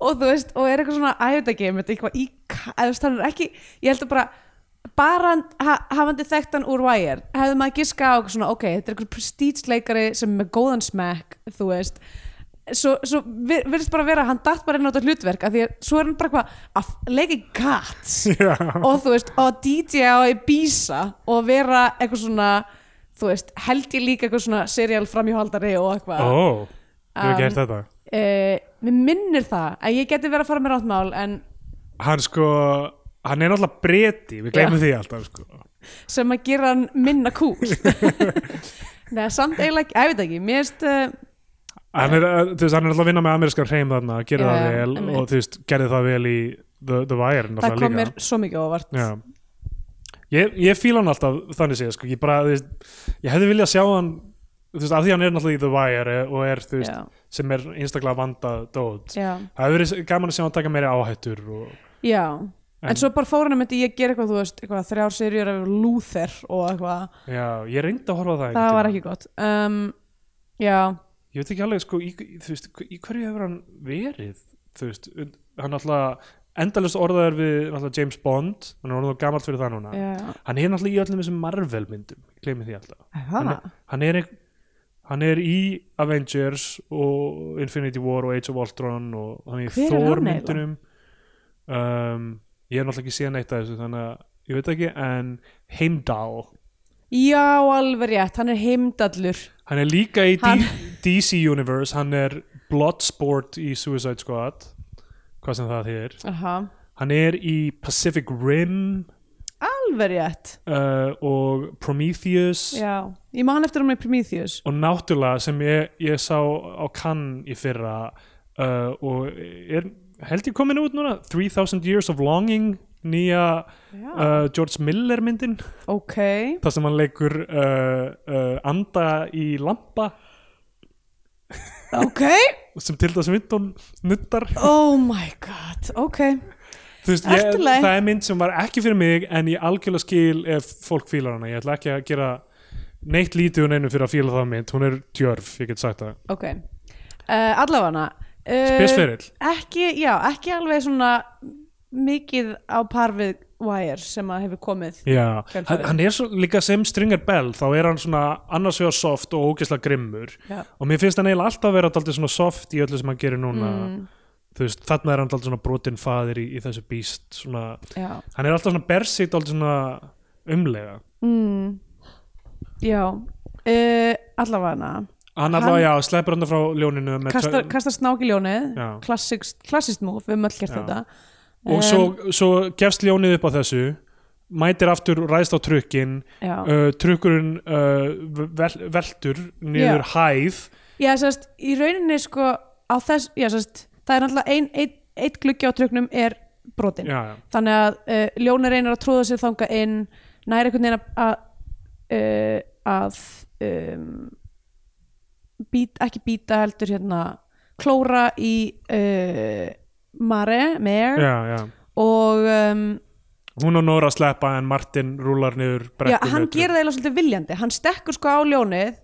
Speaker 2: og þú veist, og er eitthvað svona æfðagame, þetta er eitthvað í, eða þú veist, hann er ekki ég held að bara, bara hann- ha, hafandi þekkt hann úr Wire hefði maður giska á eitthvað svona, ok, þetta er eitthvað prestítsleikari sem er með góðan smekk þú veist, svo, svo vi- virðist bara vera að hann datt bara inn á þetta hlutverk af því að svo er hann bara eitthvað að leika í gats
Speaker 1: Já,
Speaker 2: og þú veist, og DJ á Ibiza og vera eitthvað svona þú veist, held ég líka eitthvað svona serial framhjóhaldari og eitthvað
Speaker 1: ó, ég hef
Speaker 2: Um,
Speaker 1: ekki hert þetta
Speaker 2: uh, mér minnir það að ég geti verið að fara með ráttmál en
Speaker 1: Hann sko, hann er náttúrulega breti, við glemum því alltaf sko
Speaker 2: sem að gera hann minna kúl neða samt eiginlega ekki, ég veit ekki mér veist, uh,
Speaker 1: Hann er, uh, þú veist, hann er alltaf að vinna með amerískan hreim þarna, gera
Speaker 2: Já,
Speaker 1: það vel
Speaker 2: einmitt.
Speaker 1: og þú veist, gerði það vel í The, the Wire
Speaker 2: það
Speaker 1: náttúrulega
Speaker 2: kom
Speaker 1: líka
Speaker 2: mér svo mikið á óvart
Speaker 1: Já Ég, ég fíla hann alltaf þannig séð sko, ég bara, þú veist, ég hefði viljað sjá hann þú veist, af því hann er náttúrulega í The Wire eh, og er, þú veist,
Speaker 2: Já.
Speaker 1: sem er einstaklega vandað dót,
Speaker 2: já,
Speaker 1: það hefur verið gaman að sjá hann taka meiri áhættur og
Speaker 2: já. En, svo bara fór hann að myndi ég gera eitthvað, þú veist, eitthvað þrjár serjur af Luther og eitthvað,
Speaker 1: Já, ég reyndi að horfa á það
Speaker 2: það
Speaker 1: einhvern
Speaker 2: var
Speaker 1: tímann.
Speaker 2: ekki gott um, já,
Speaker 1: Ég veit ekki alveg, sko, í, í- þú veist, í hverju hefur hann verið, þú veist und- hann alltaf endalist orðaður við náttúrulega James Bond, hann er orðið of gamalt fyrir það núna
Speaker 2: já,
Speaker 1: hann er náttúrulega í öllum þessum Marvel myndum gleymi því alltaf
Speaker 2: það
Speaker 1: er- hann er, ein- hann er í Avengers og Infinity War og Age of Ultron og hann er í
Speaker 2: Hver er hann
Speaker 1: Thor myndunum um, ég er náttúrulega ekki síðan eitt af þessu þannig að ég veit ekki, en Heimdall
Speaker 2: já, alveg rétt, hann er heimdallur
Speaker 1: Hann er líka í
Speaker 2: Hann-
Speaker 1: D- DC Universe, hann er Bloodsport í Suicide Squad hvað sem það þýðir.
Speaker 2: Aha.
Speaker 1: Hann er í Pacific Rim
Speaker 2: alveg rétt,
Speaker 1: uh, og Prometheus
Speaker 2: já ég man eftir hann með Prometheus
Speaker 1: og náttúrulega sem ég, ég sá á Cannes í fyrra uh, og er held ég komin út núna 3000 Years of Longing nýja
Speaker 2: já.
Speaker 1: uh, George Miller myndin
Speaker 2: ok,
Speaker 1: það sem hann leikur uh, uh, anda í lampa
Speaker 2: ok
Speaker 1: sem Tilda Swinton nuttar
Speaker 2: oh my god, ok
Speaker 1: Þú veist,
Speaker 2: Allt
Speaker 1: ég,
Speaker 2: í lagi.
Speaker 1: það er mynd sem var ekki fyrir mig en ég algjörlega skil ef fólk fílar hana ég ætla ekki að gera neitt lítið hún einu fyrir að fíla það mynd, hún er djörf ég get sagt það,
Speaker 2: ok uh, allavega eh,
Speaker 1: spesferill
Speaker 2: ekki, já, ekki alveg svona mikið á par við Wire sem að hefur komið
Speaker 1: Já,
Speaker 2: Kjölfarið.
Speaker 1: hann hann er svo, líka sem Stringer Bell þá er hann svona annars vegar soft og ógeðslega grimmur
Speaker 2: Já.
Speaker 1: og mér finnst hann eiginlega alltaf vera daldið svona soft í öllu sem hann gerir núna
Speaker 2: Mm.
Speaker 1: þú veist, þarna er hann daldið svona brotinn faðir í, í þessu býst svona,
Speaker 2: Já.
Speaker 1: hann er alltaf svona bersið daldið svona umlega
Speaker 2: Mm. Já. Uh, allavega
Speaker 1: hann
Speaker 2: Hann-
Speaker 1: allavega, já, sleppur hann frá ljóninu með
Speaker 2: kastar,
Speaker 1: tö-
Speaker 2: kastar snákiljónið
Speaker 1: Já.
Speaker 2: klassist, klassist múf, við höfum öll gert
Speaker 1: Já.
Speaker 2: þetta
Speaker 1: og svo, svo gefst ljónið upp á þessu mætir aftur, ræðst á trukkin
Speaker 2: já.
Speaker 1: uh, trukkurinn uh, vel, veltur niður hæð
Speaker 2: já, sérst, í rauninni sko á þess, já, sérst, það er náttúrulega ein, ein, ein gluggi á tröknum er brotin
Speaker 1: já, já,
Speaker 2: þannig að uh, ljóni reynir að tróða sér þanga inn næri einhvern veginn að að, uh, að um, být, ekki býta heldur hérna klóra í uh, mare, mer
Speaker 1: já, já.
Speaker 2: og um,
Speaker 1: hún og Nora sleppa en Martin rúlar niður
Speaker 2: já,
Speaker 1: brettinu
Speaker 2: hann gerir það eiginlega svolítið viljandi hann stekkur sko á ljónið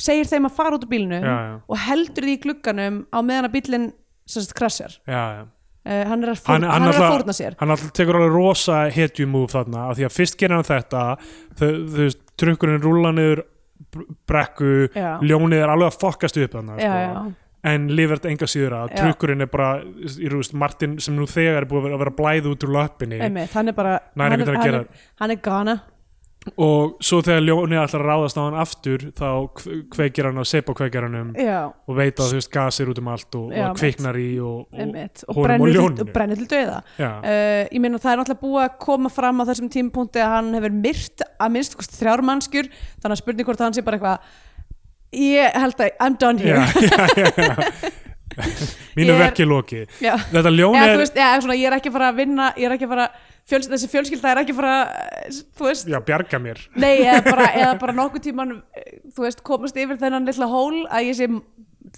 Speaker 2: segir þeim að fara út úr bílnum
Speaker 1: Já, já.
Speaker 2: og heldur því í glugganum á meðan að bílinn sem sagt krassar
Speaker 1: já, já.
Speaker 2: uh, hann er að, fórn, hann, er að
Speaker 1: alltaf-
Speaker 2: fórna sér
Speaker 1: hann alltaf tekur alveg rosa hetju move þarna af því að fyrst gerir hann þetta þau, þú veist, trukkurinn rúlar niður br- brekku,
Speaker 2: Já.
Speaker 1: ljónið er alveg að fokkast upp þarna sko.
Speaker 2: já, já,
Speaker 1: en lifert enga síður að
Speaker 2: Já.
Speaker 1: trukkurinn er bara, í rúst, Martin sem nú þegar er búið að vera blæð út úr löppinni
Speaker 2: einmitt, hann er bara
Speaker 1: Nær
Speaker 2: hann,
Speaker 1: einhvern
Speaker 2: er,
Speaker 1: veginn að
Speaker 2: hann,
Speaker 1: gera
Speaker 2: er, hann er gana
Speaker 1: og svo þegar ljónið ætlar að ráðast á hann aftur þá kve- kveikir hann á seipakveikjaranum
Speaker 2: já,
Speaker 1: og veit að þú veist gasir út um allt og,
Speaker 2: Já,
Speaker 1: og kviknar í og, og,
Speaker 2: einmitt og
Speaker 1: honum
Speaker 2: brennur,
Speaker 1: og ljóninu.
Speaker 2: til, og brennur til dauða
Speaker 1: Já.
Speaker 2: uh, ég meina það er náttúrulega búið að koma fram á þessum tímapunkti að hann hefur myrt að minnst kosti þrjár mannskjur þannig að spurning hvort hann sé bara eitthvað ég held að I'm done
Speaker 1: já,
Speaker 2: here
Speaker 1: já, já, já. mínu
Speaker 2: Ég er-
Speaker 1: verki loki
Speaker 2: Já.
Speaker 1: þetta ljón
Speaker 2: Eða,
Speaker 1: er
Speaker 2: þú veist, eða, svona, ég er ekki að fara að vinna ég er ekki að fara, fjöls, þessi fjölskylda er ekki að fara eh, þú veist,
Speaker 1: já, bjarga mér
Speaker 2: nei eða bara, eða bara nokkuð tíman þú veist, komast yfir þennan lilla hól að ég sé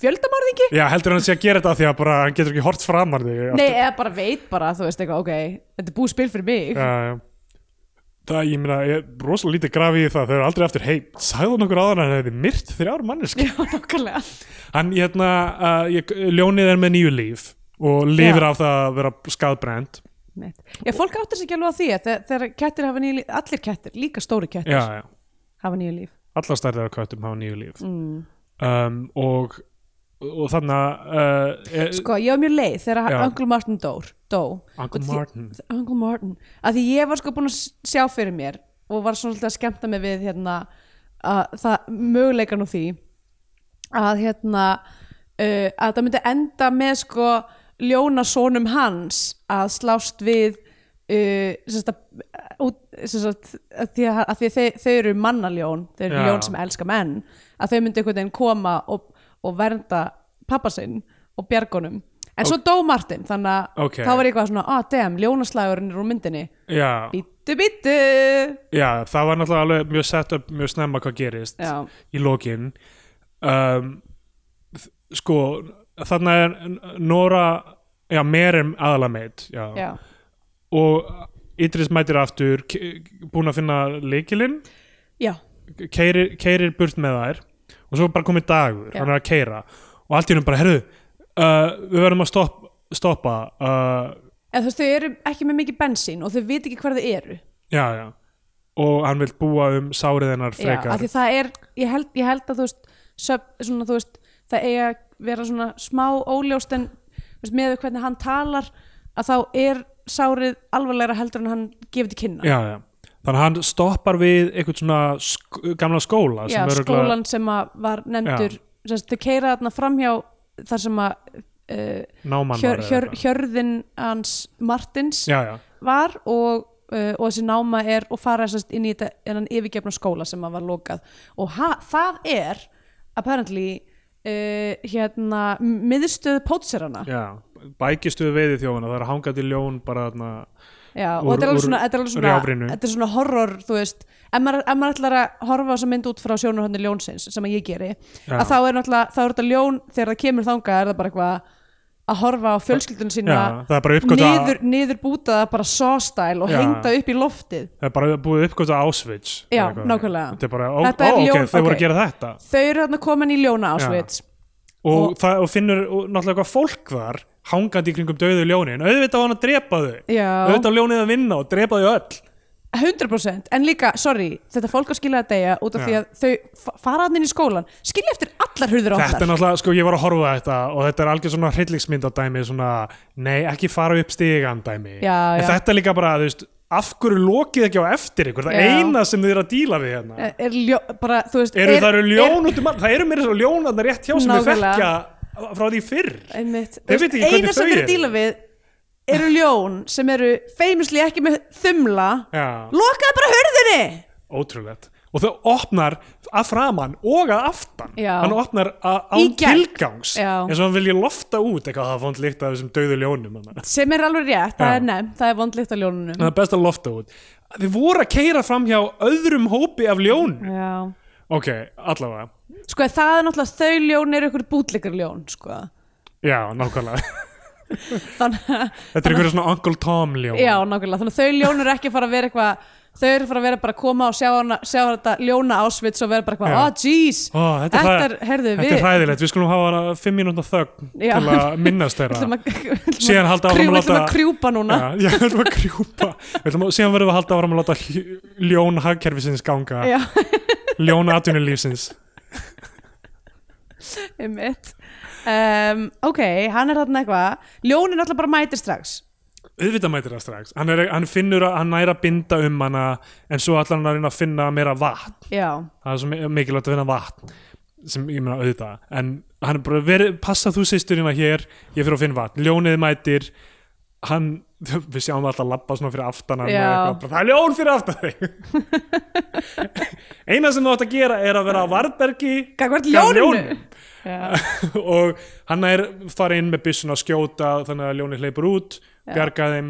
Speaker 2: fjöldamorðingi
Speaker 1: já, heldur hann sé að gera þetta af því að bara, hann getur ekki hort framar þig
Speaker 2: nei, eða bara veit bara, þú veist, eitthvað, ok þetta er búið spil fyrir mig
Speaker 1: já, já. það, ég meina, ég er rosalega lítið grafið í það þau eru aldrei eftir, hei, sagðu nokkur áðan að hann hefði myrt þrjár mannesk
Speaker 2: Já, nokkulega
Speaker 1: hann, hérna, uh, ég, ljónið er með nýju líf og lifir af það að vera skadbrend
Speaker 2: Mitt. Já, fólk áttur sér ekki alveg á því að þe- þegar kettir hafa nýju líf, allir kettir, líka stóri kettir
Speaker 1: já, já,
Speaker 2: hafa nýju líf.
Speaker 1: allar stærðar af köttum hafa nýju líf
Speaker 2: Mm.
Speaker 1: um, og og þannig að uh, e-
Speaker 2: Sko, ég var mjög leið þegar
Speaker 1: Já.
Speaker 2: Uncle Martin dór, dó.
Speaker 1: Uncle
Speaker 2: Og því-
Speaker 1: Martin.
Speaker 2: Uncle Martin. Að því ég var sko búin að s- sjá fyrir mér og var svona svolítið að skemmta mig við hérna að það möguleikan og því að hérna uh, að það myndi enda með sko ljónasónum hans að slást við uh, sérst að, út, sérst að, að því að, að því að þau, þau eru mannaljón þau eru
Speaker 1: Já.
Speaker 2: ljón sem elska menn að þau myndi einhvern veginn koma og, og vernda pappa sinn og bjargunum en svo dó Martin þannig að
Speaker 1: Ok.
Speaker 2: þá var ég eitthvað svona, ah damn, ljónaslagurinn er úr myndinni
Speaker 1: já,
Speaker 2: bítu bítu
Speaker 1: Já, það var náttúrulega alveg mjög sett upp mjög snemma hvað gerist
Speaker 2: Já.
Speaker 1: í lokin um, þ- sko þarna er Nora já, mér er aðalameit já.
Speaker 2: já,
Speaker 1: og Idris mætir aftur búin að finna lykilinn
Speaker 2: já,
Speaker 1: keirir, keirir burt með þær og svo er bara komið dagur,
Speaker 2: Já.
Speaker 1: hann er að keira og allt í hennum bara, herðu uh, við verðum að stopp, stoppa uh,
Speaker 2: en þú veist þau eru ekki með mikið bensín og þau veit ekki hvar þau eru
Speaker 1: já, já og hann vil búa um sárið hennar
Speaker 2: já, af
Speaker 1: frekar
Speaker 2: því það er, ég held, ég held að þú veist, söp, svona, þú veist það eiga að vera svona smá óljóst en þú veist, með hvernig hann talar að þá er sárið alvarlegra heldur en hann gefur til kynna
Speaker 1: já, já. þannig að hann stoppar við einhvern svona sk gamla skóla sem
Speaker 2: Já,
Speaker 1: örugglega-
Speaker 2: skólan sem að var nefndur sem sagt, þau keira þarna framhjá þar sem að uh,
Speaker 1: námann var
Speaker 2: hjör,
Speaker 1: eða
Speaker 2: hjör,
Speaker 1: eitthvað.
Speaker 2: hjörðin hans Martins
Speaker 1: já, já,
Speaker 2: var og, uh, og þessi náma er og fara sérst, inn í þetta enn yfirgefna skóla sem að var lokað og ha, það er apparently uh, hérna miðstöð pótserana
Speaker 1: já. bækistuð veiði þjófana, það er hangandi ljón bara þarna,
Speaker 2: Já, og
Speaker 1: Úr-
Speaker 2: þetta er alveg
Speaker 1: úr
Speaker 2: svona, þetta er alveg svona,
Speaker 1: rjáfrinu.
Speaker 2: þetta er svona horror, þú veist ef maður, ef maður ætlar að horfa á þess að mynd út frá sjónarhóndi ljónsins sem að ég geri
Speaker 1: Já.
Speaker 2: að þá er náttúrulega, þá er þetta ljón þegar það kemur þangað er það bara eitthvað að horfa á fjölskyldun sína
Speaker 1: Já, það er bara uppgötvað-
Speaker 2: niður, niður bútaða bara sawstæl og
Speaker 1: Já.
Speaker 2: hengda upp í loftið
Speaker 1: það er bara búið uppgöta ásvits
Speaker 2: Já,
Speaker 1: eða eitthvað.
Speaker 2: nákvæmlega.
Speaker 1: þetta er bara, ó,
Speaker 2: Þetta er
Speaker 1: ó, ok,
Speaker 2: ljón-
Speaker 1: þau voru
Speaker 2: ok.
Speaker 1: að gera þetta
Speaker 2: þau eru þarna komin í ljóna ásveit
Speaker 1: og, það, og finnur og náttúrulega eitthvað fólk þar hangandi í kringum dauðu ljónin auðvitað var hann að drepa þau
Speaker 2: já,
Speaker 1: auðvitað var ljónið að vinna og drepa þau öll
Speaker 2: 100% en líka, sorry, þetta fólk á skilja að deyja út af
Speaker 1: Já.
Speaker 2: því að þau fa- fara hann inn í skólan skilja eftir allar hurður
Speaker 1: þetta er
Speaker 2: ofnar
Speaker 1: náttúrulega, sko ég var að horfa á þetta og þetta er algjör svona hryllingsmynd á dæmi svona, nei ekki fara upp stigan dæmi
Speaker 2: Já,
Speaker 1: en
Speaker 2: já.
Speaker 1: þetta er líka bara, þú veist af hverju lokið ekki á eftir ykkur það
Speaker 2: Já. Eh,
Speaker 1: eina sem þið eru að díla við hérna
Speaker 2: er ljó, bara, þú veist
Speaker 1: eru, það eru ljón út um allt, það eru meira svo ljón að það rétt hjá sem við
Speaker 2: Nákvæmlega. Eh.
Speaker 1: þekkja frá því fyrr
Speaker 2: einmitt,
Speaker 1: Ég veit ekki hvernig
Speaker 2: eina sem
Speaker 1: þau
Speaker 2: við
Speaker 1: eru.
Speaker 2: erum díla við eru ljón sem eru famously ekki með þumla
Speaker 1: já,
Speaker 2: lokaði bara hurðinni
Speaker 1: ótrúlegt og þau opnar að framan og að aftan
Speaker 2: Já.
Speaker 1: hann opnar að-
Speaker 2: Í
Speaker 1: án
Speaker 2: gegn.
Speaker 1: tilgangs
Speaker 2: Já.
Speaker 1: eins og hann vilji lofta út eitthvað að það fónd líkt af þessum dauðu ljónum hann.
Speaker 2: sem er alveg rétt, það
Speaker 1: Já.
Speaker 2: er nefn, það er vondlíkt á ljónunum
Speaker 1: það er best að lofta út þið voru að keira fram hjá öðrum hópi af ljónum
Speaker 2: já,
Speaker 1: ok, allavega,
Speaker 2: sko það er náttúrulega þau ljón eru ykkur bútleikar ljón sko.
Speaker 1: já, nákvæmlega
Speaker 2: þannig að,
Speaker 1: þetta er einhverju svona Uncle Tom ljón
Speaker 2: já, nákvæmlega þannig að þau ljón eru ekki að fara að vera eitthvað þau eru að fara að vera bara að koma og sjá, hana, sjá þetta ljóna ásvits og vera bara eitthvað,
Speaker 1: Já.
Speaker 2: oh jeez
Speaker 1: Ó, þetta, er
Speaker 2: þetta
Speaker 1: hræ-
Speaker 2: er, herðu
Speaker 1: þetta
Speaker 2: við
Speaker 1: er hræðilegt, við skulum hafa hana fimm mínúnda þögn
Speaker 2: Já.
Speaker 1: til að minnast þeirra
Speaker 2: ætlum að, ætlum
Speaker 1: Síðan
Speaker 2: að,
Speaker 1: halda áfram
Speaker 2: krjú,
Speaker 1: að
Speaker 2: ætlum
Speaker 1: láta-
Speaker 2: að krjúpa núna
Speaker 1: Já, já, við ætlum að krjúpa Við ætlum að, síðan verðum við að halda áfram að láta hljó- ljón hagkerfisins ganga
Speaker 2: Já.
Speaker 1: ljón atvinnulífsins
Speaker 2: Einmitt. Um, ok, hann er þarna eitthvað Ljónin alltaf bara mætir strax
Speaker 1: auðvitað mætir það strax hann, er, hann finnur að hann næra binda um hana en svo ætlar hann að reyna að finna meira vatn
Speaker 2: Já,
Speaker 1: það er svo mi- mikilvægt að finna vatn sem ég meina auðvitað en hann er bara, veri, passa þú sýsturina hér ég fyrir að finna vatn, ljónið mætir hann, við sjáum alltaf labba svona fyrir aftan hann og
Speaker 2: Já.
Speaker 1: eitthvað, bara, það er ljón fyrir aftan þig eina sem þú átt að gera er að vera á varbergi
Speaker 2: gagvart
Speaker 1: gagnvart
Speaker 2: ljóninu Já,
Speaker 1: og hann er farið inn með byssuna að skjóta þannig að ljónið hleypur út
Speaker 2: Já.
Speaker 1: bjarga þeim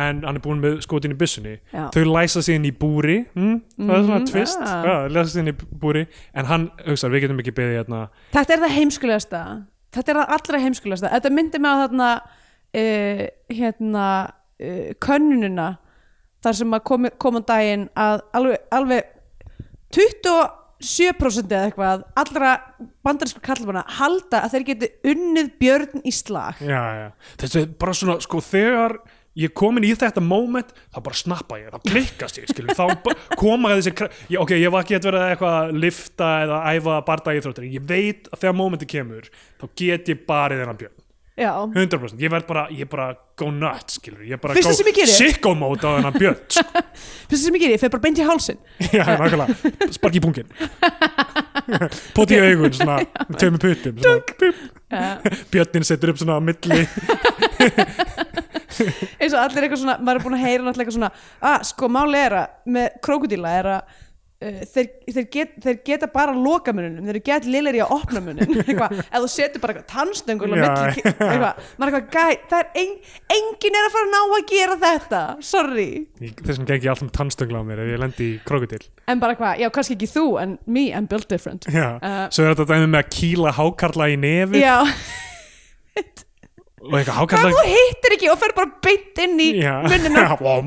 Speaker 1: en hann er búinn með skotin í byssunni
Speaker 2: Já.
Speaker 1: þau læsa sig inn í búri mm, það er svona
Speaker 2: Mhm,
Speaker 1: tvist
Speaker 2: já.
Speaker 1: ja, læsa sig inn í búri en hann, hugsar, við getum ekki beðið hérna
Speaker 2: Þetta er það heimskulegasta Þetta er það allra heimskulegasta Þetta myndi mig á þarna uh, hérna uh, könnunina þar sem að kom, kom á daginn að alveg, alveg 27% eða eitthvað allra bandarinskar kallmanna halda að þeir geti unnið björn í slag
Speaker 1: já, já. þetta er bara svona, sko, þegar ég er komin í þetta moment, þá bara snappa ég þá klikkast ég, skilur, þá ba- koma þessi, kra- ég, ok, ég var ekki að vera eitthvað að lifta eða æfa barða í þróttir ég veit að þegar momenti kemur þá get ég barið þennan björn
Speaker 2: Já,
Speaker 1: 100% ég verð bara, ég bara go nuts skilur, ég bara
Speaker 2: Fyrsta
Speaker 1: go
Speaker 2: sem ég geri.
Speaker 1: sicko mode á þennan björn sko.
Speaker 2: finnst það sem ég geri, þeir bara beint í hálsinn
Speaker 1: já, nákvæmlega, sparki í pungin poti í augun svona, tömur putum svona, pip.
Speaker 2: Já.
Speaker 1: björnin setur upp svona á milli
Speaker 2: eins og allir eitthvað svona, maður er búin að heyra náttúrulega eitthvað svona, að sko máli er að með krokodíla er að uh, þeir, þeir, get, þeir geta bara að loka mununum, þeir geta lillir í að opna munin eitthvað, eða þú setur bara eitthvað tannstöngul á
Speaker 1: Já,
Speaker 2: milli,
Speaker 1: já.
Speaker 2: eitthvað, maður er eitthvað gæ, það er ein, engin er að fara að ná að gera þetta sorry,
Speaker 1: þess vegna gengi ég alltaf um tannstöngla á mér ef ég lendi í krokodil
Speaker 2: en bara eitthvað, já kannski ekki þú en me, I'm built different
Speaker 1: já.
Speaker 2: Uh.
Speaker 1: svo er þetta dæmi með að kýla hákarla í nefi
Speaker 2: já,
Speaker 1: og eitthvað
Speaker 2: hvað
Speaker 1: hákarla
Speaker 2: þú hittir ekki og fer bara beint inn í
Speaker 1: Já.
Speaker 2: munina
Speaker 1: Já, vóm.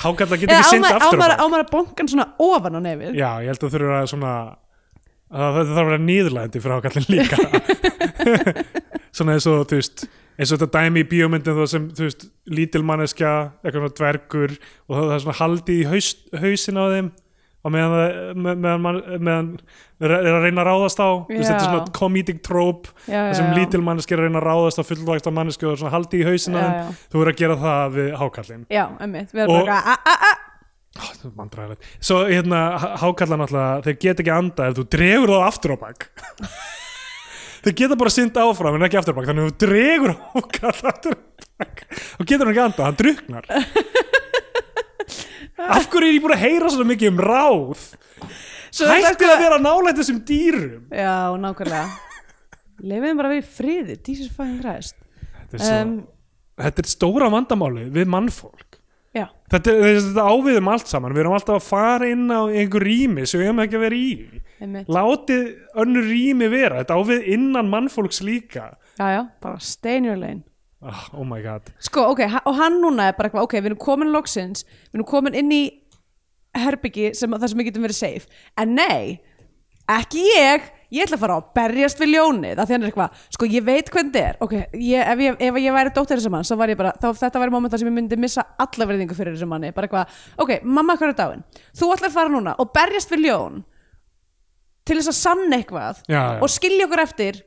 Speaker 1: hákarla get
Speaker 2: eða
Speaker 1: ekki
Speaker 2: á
Speaker 1: sinda
Speaker 2: maður- á
Speaker 1: aftur á
Speaker 2: maður
Speaker 1: bak.
Speaker 2: á maður að bongan svona ofan á nefið
Speaker 1: já, ég held að þurfa að svona að þetta þarf að vera nýðlæðandi fyrir ákallin líka svona eins og þú veist eins og þetta dæmi í bíómyndin þó sem þú veist lítilmanneskja, eitthvað svona dvergur og það það er svona haldið í haus, hausin á þeim og meðan, það- me- meðan, man, meðan er er að reyna að ráðast á þú veist, þetta er
Speaker 2: Já.
Speaker 1: svona comedic trope
Speaker 2: Já,
Speaker 1: þar
Speaker 2: já,
Speaker 1: sem
Speaker 2: já.
Speaker 1: lítilmanneski er að reyna að ráðast á fullvægsta manneski og það er svona haldið í hausin á
Speaker 2: Já,
Speaker 1: þeim
Speaker 2: já.
Speaker 1: þú verður að gera það við hákallin
Speaker 2: já, emmitt, við
Speaker 1: Og-
Speaker 2: erum bara "Ah, að, að, að
Speaker 1: Mandræðilegt. Svo hérna há- hákarlar náttúrulega, þeir geta ekki anda ef þú dregur þá aftur á bak. þeir geta bara synd áfram en ekki aftur á bak, þannig að ef þú dregur hákarl aftur á bak, þá getur hann ekki anda, hann druknar. Af hverju er ég búin að heyra svona mikið um ráð?
Speaker 2: Svo er þetta
Speaker 1: Hættið
Speaker 2: eitthvað-
Speaker 1: að vera nálægt þessum dýrum.
Speaker 2: Já, nákvæmlega Leifum bara að vera í friði, Jesus fucking Christ
Speaker 1: Þetta er, svo,
Speaker 2: Em,
Speaker 1: þetta er stóra vandamáli við mannfólk.
Speaker 2: Já,
Speaker 1: Þetta, þetta áviðum allt saman, við erum alltaf að fara inn á einhver rými sem við hefum ekki að vera í.
Speaker 2: einmitt
Speaker 1: látið önnur rými vera þetta á við innan mannfólks líka
Speaker 2: Já, já, bara stay in your lane
Speaker 1: oh, oh my god
Speaker 2: Sko, ok, ha- og hann núna er bara eitthvað Ok, við erum komin loksins Við erum komin inn í herbyggi sem, þar sem við getum verið safe En nei, ekki ég ég ætla að fara að berjast við ljónið að því hann er eitthvað, sko ég veit hvernig þetta er ok, ég, ef, ég, ef ég væri dóttir þessum mann þá var ég bara, þá, þetta væri mómentar sem ég myndi missa alla verðingu fyrir þessum manni, bara eitthvað ok, mamma hver er dáin, þú ætlar að fara núna og berjast við ljón til þess að sanna eitthvað
Speaker 1: Já, já.
Speaker 2: og skilja okkur eftir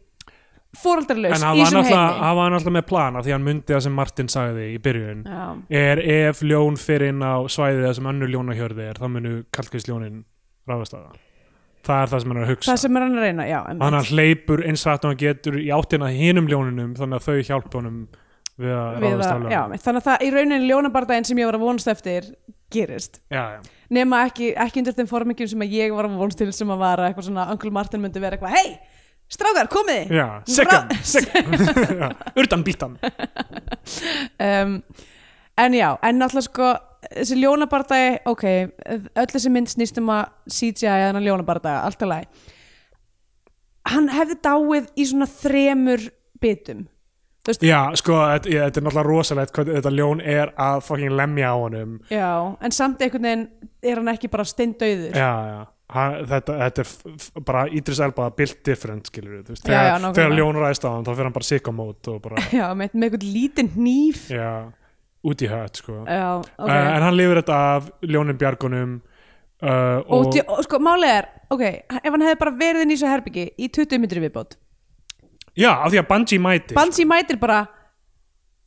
Speaker 2: fóraldarlaus í
Speaker 1: en hafa hann
Speaker 2: þessum
Speaker 1: alltaf-
Speaker 2: heimi
Speaker 1: hafa hann alltaf með plana því hann myndi það sem Martin sagði í byrjun
Speaker 2: Já.
Speaker 1: er ef ljón fyrir inn á svæðið það sem önnur ljónahjörði er þá munu kallkvistljónin ráðast að það það er það sem hann er að hugsa
Speaker 2: það sem er hann að reyna, já,
Speaker 1: og hann hleypur eins hrætt og hann getur í áttina að hinum ljóninum þannig að þau hjálpa honum við að
Speaker 2: við
Speaker 1: ráðast að
Speaker 2: að, já,
Speaker 1: ljónin
Speaker 2: þannig að það í rauninni ljónabardaginn sem ég var að vonast eftir gerist,
Speaker 1: já, já.
Speaker 2: nema ekki, ekki undir þeim formingjum sem að ég var að vonast til sem að var eitthvað svona, Uncle Martin myndi vera eitthvað hei, strákar, komiði
Speaker 1: Já, sekkan, sekkan Já, Urdan bítan
Speaker 2: um, en já, en náttúrulega sko þessi ljónabardagi, ok öll þessi mynd snýst um að CGI að hennar ljónabardaga, allt að læg hann hefði dáið í svona þremur bitum þú veist,
Speaker 1: Já, sko, þetta ég- þetta er náttúrulega rosalegt hvað þetta ljón er að fucking lemja á honum
Speaker 2: já, en samt einhvern veginn er hann ekki bara steindauður
Speaker 1: Já, já Hann, þetta, þetta er f- f- bara Idris Elba built different skilur við,
Speaker 2: Já, já,
Speaker 1: þegar,
Speaker 2: nákvæmlega.
Speaker 1: þegar ljón ræðist á hann þá fyrir hann bara sikamót og bara,
Speaker 2: já, með, með einhvern lítinn hníf
Speaker 1: já, út í hött sko.
Speaker 2: Já, ok.
Speaker 1: uh, en hann lifir þetta af ljónin bjargunum uh,
Speaker 2: og,
Speaker 1: og,
Speaker 2: og, og sko, málið er, ok, ef hann hefði bara verið inn í svo herbyggi í 20 minnir viðbót.
Speaker 1: já, af því að Bungie mæti
Speaker 2: Bansi mætir bara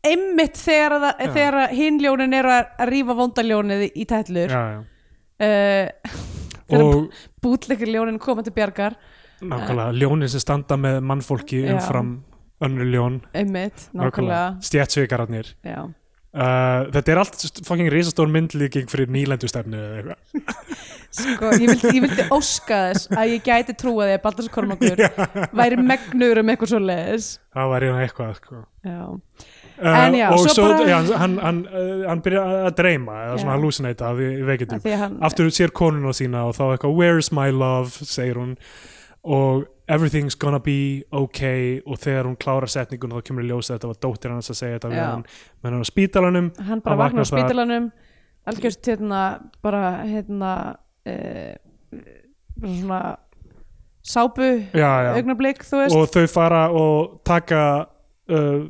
Speaker 2: einmitt þegar, að það-
Speaker 1: sko- Já.
Speaker 2: þegar að hin ljónin eru að að rífa vondaljónið í tætlur.
Speaker 1: já, já.
Speaker 2: Uh, þegar
Speaker 1: og
Speaker 2: bútleikur ljónin koma til bjargar,
Speaker 1: nákvæmlega, ljónin sem standa með mannfólki
Speaker 2: Já.
Speaker 1: umfram önnur ljón
Speaker 2: einmitt, nákvæmlega.
Speaker 1: stjætsveikararnir
Speaker 2: Já.
Speaker 1: uh, þetta er allt st- fucking risastór myndlíking fyrir nýlendustefnu eða eitthvað
Speaker 2: Sko, ég, vildi, ég vildi óska þess að ég gæti trúa því að Baldurs Kormakur væri megnur um eitthvað svo leiðis.
Speaker 1: það var hérna eitthvað sko.
Speaker 2: Já.
Speaker 1: Uh,
Speaker 2: En já,
Speaker 1: og
Speaker 2: svo
Speaker 1: svo,
Speaker 2: bara-
Speaker 1: já, hann, hann, uh, hann byrja að dreyma eða svona
Speaker 2: Já.
Speaker 1: hallucinata af því-
Speaker 2: Af
Speaker 1: veikindum
Speaker 2: því að hann-
Speaker 1: aftur sér konuna sína og þá eitthvað where is my love, segir hún og everything's gonna be okay og þegar hún klárar setningun þá kemur í ljós að þetta var dóttir hans að segja þetta við
Speaker 2: Já.
Speaker 1: hann með hann á spítalanum
Speaker 2: hann bara vaknar á
Speaker 1: Hann vaknar þar.
Speaker 2: spítalanum algjörst hérna bara hérna uh, svona sápu
Speaker 1: já, já.
Speaker 2: augnablík þú veist
Speaker 1: og þau fara og taka uh,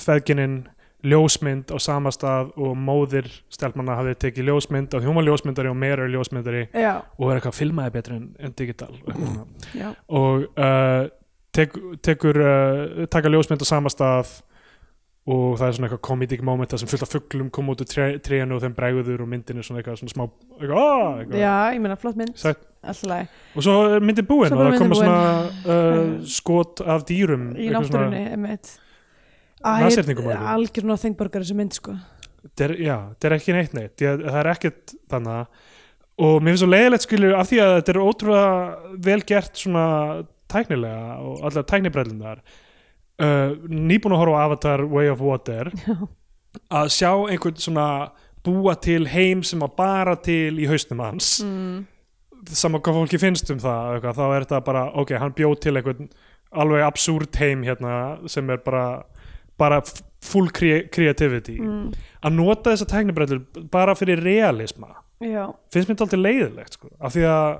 Speaker 1: feðginin ljósmynd á sama stað og móðir stelmanna hafði tekið ljósmynd og hún var ljósmyndari og meira er ljósmyndari
Speaker 2: já,
Speaker 1: og er eitthvað filmaði betur en, en digital og eitthvað svona.
Speaker 2: já,
Speaker 1: og uh, tek, tekur uh, taka ljósmynd á sama stað og það er svona eitthvað comedic moment þar sem fullt af fugglum kom út úr tré- trénu og þeim bregður og myndin er svona eitthvað svona smá eitthvað, "Ah", eitthvað.
Speaker 2: já, ég meina flott mynd
Speaker 1: Sætt.
Speaker 2: alltaf
Speaker 1: og svo er myndin búin
Speaker 2: Svo
Speaker 1: og
Speaker 2: bara
Speaker 1: það koma
Speaker 2: myndin
Speaker 1: svona uh, skot af dýrum
Speaker 2: í
Speaker 1: eitthvað svona-
Speaker 2: náttúrunni einmitt
Speaker 1: Nashyrningum,
Speaker 2: Æ,
Speaker 1: alveg.
Speaker 2: algjör nóð þengborgar þessi mynd sko
Speaker 1: það er, já, það er ekki neitt neitt ég, það er ekkert þannig og mér finnst svo leiðilegt skilur af því að þetta er ótrúlega vel gert svona tæknilega og allar tæknibrellunar uh, nýbúin að horfa á Avatar Way of Water að sjá einhvern svona búa til heim sem að bara til í hausnum hans
Speaker 2: mm.
Speaker 1: saman hvað fólki finnst um það eða eitthvað, þá er þetta bara, ok, hann bjóð til einhvern alveg absúrt heim hérna sem er bara, bara f- full crea- creativity
Speaker 2: Mm.
Speaker 1: að nota þessa tæknibrellur bara fyrir realisma
Speaker 2: já
Speaker 1: finnst mér þetta aldrei leiðilegt sko. af því að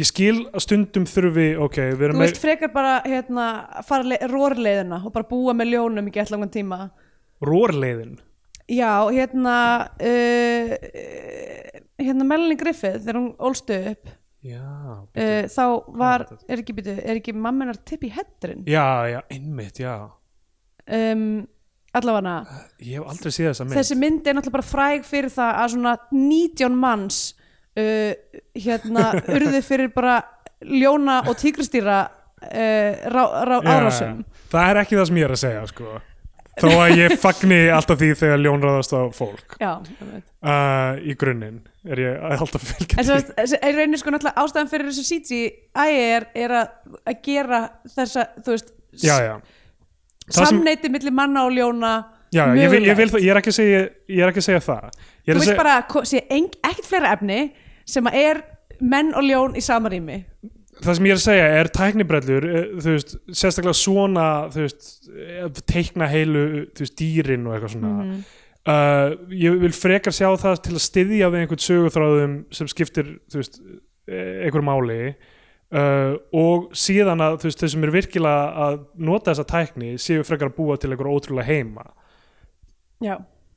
Speaker 1: ég skil að stundum þurfi ok, við
Speaker 2: Þú
Speaker 1: erum
Speaker 2: vilt frekar bara hérna, fara le- rórleiðina og bara búa með ljónum í gett langan tíma
Speaker 1: með rórleiðin
Speaker 2: Já, hérna uh, uh, hérna Melanie Griffith þegar hún ólstu upp
Speaker 1: já, uh,
Speaker 2: uh, þá var,
Speaker 1: Hvað var
Speaker 2: er ekki, byrju, er ekki mammenar tipp í hettrin
Speaker 1: já, já, einmitt, já
Speaker 2: um, allavega
Speaker 1: ég hef aldrei séð þessa mynd
Speaker 2: þessi mynd er náttúrulega bara fræg fyrir það að svona 19 manns uh, hérna urðu fyrir bara ljóna og tígristýra uh, rá, rá,
Speaker 1: Já,
Speaker 2: árásum
Speaker 1: já. það er ekki það sem ég er að segja sko. þó að ég fagni alltaf því þegar ljón ráðast á fólk
Speaker 2: Já, ég veit
Speaker 1: uh, í grunninn er ég að halda fylgja
Speaker 2: En svo veist, þessi- í rauninni sko náttúrulega ástæðan fyrir þessu CGI er, er að, að gera þessa, þú veist, s-
Speaker 1: já, já. Það sem-
Speaker 2: samneyti milli manna og ljóna
Speaker 1: Já, já, ég, vil, ég, vil,
Speaker 2: mögulegt.
Speaker 1: það- ég, er ekki að segja, ég er ekki að segja það Ég er
Speaker 2: Þú
Speaker 1: að
Speaker 2: vilt
Speaker 1: segja,
Speaker 2: bara að ko- sé ein, ekkert fleira efni sem að er menn og ljón í sama rými.
Speaker 1: Það sem ég er að segja er tæknibrellur eh, þú veist, sérstaklega svona þú veist, eh, teikna heilu þú veist, dýrin og eitthvað svona
Speaker 2: Mhm.
Speaker 1: uh, Ég vil frekar sjá það til að styðja við einhvern söguþráðum sem skiptir þú veist, eh, einhverju máli Uh, og síðan að þú veist, þeir sem eru virkilega að nota þessa tækni séu frekar að búa til einhverja ótrúlega heima
Speaker 2: já,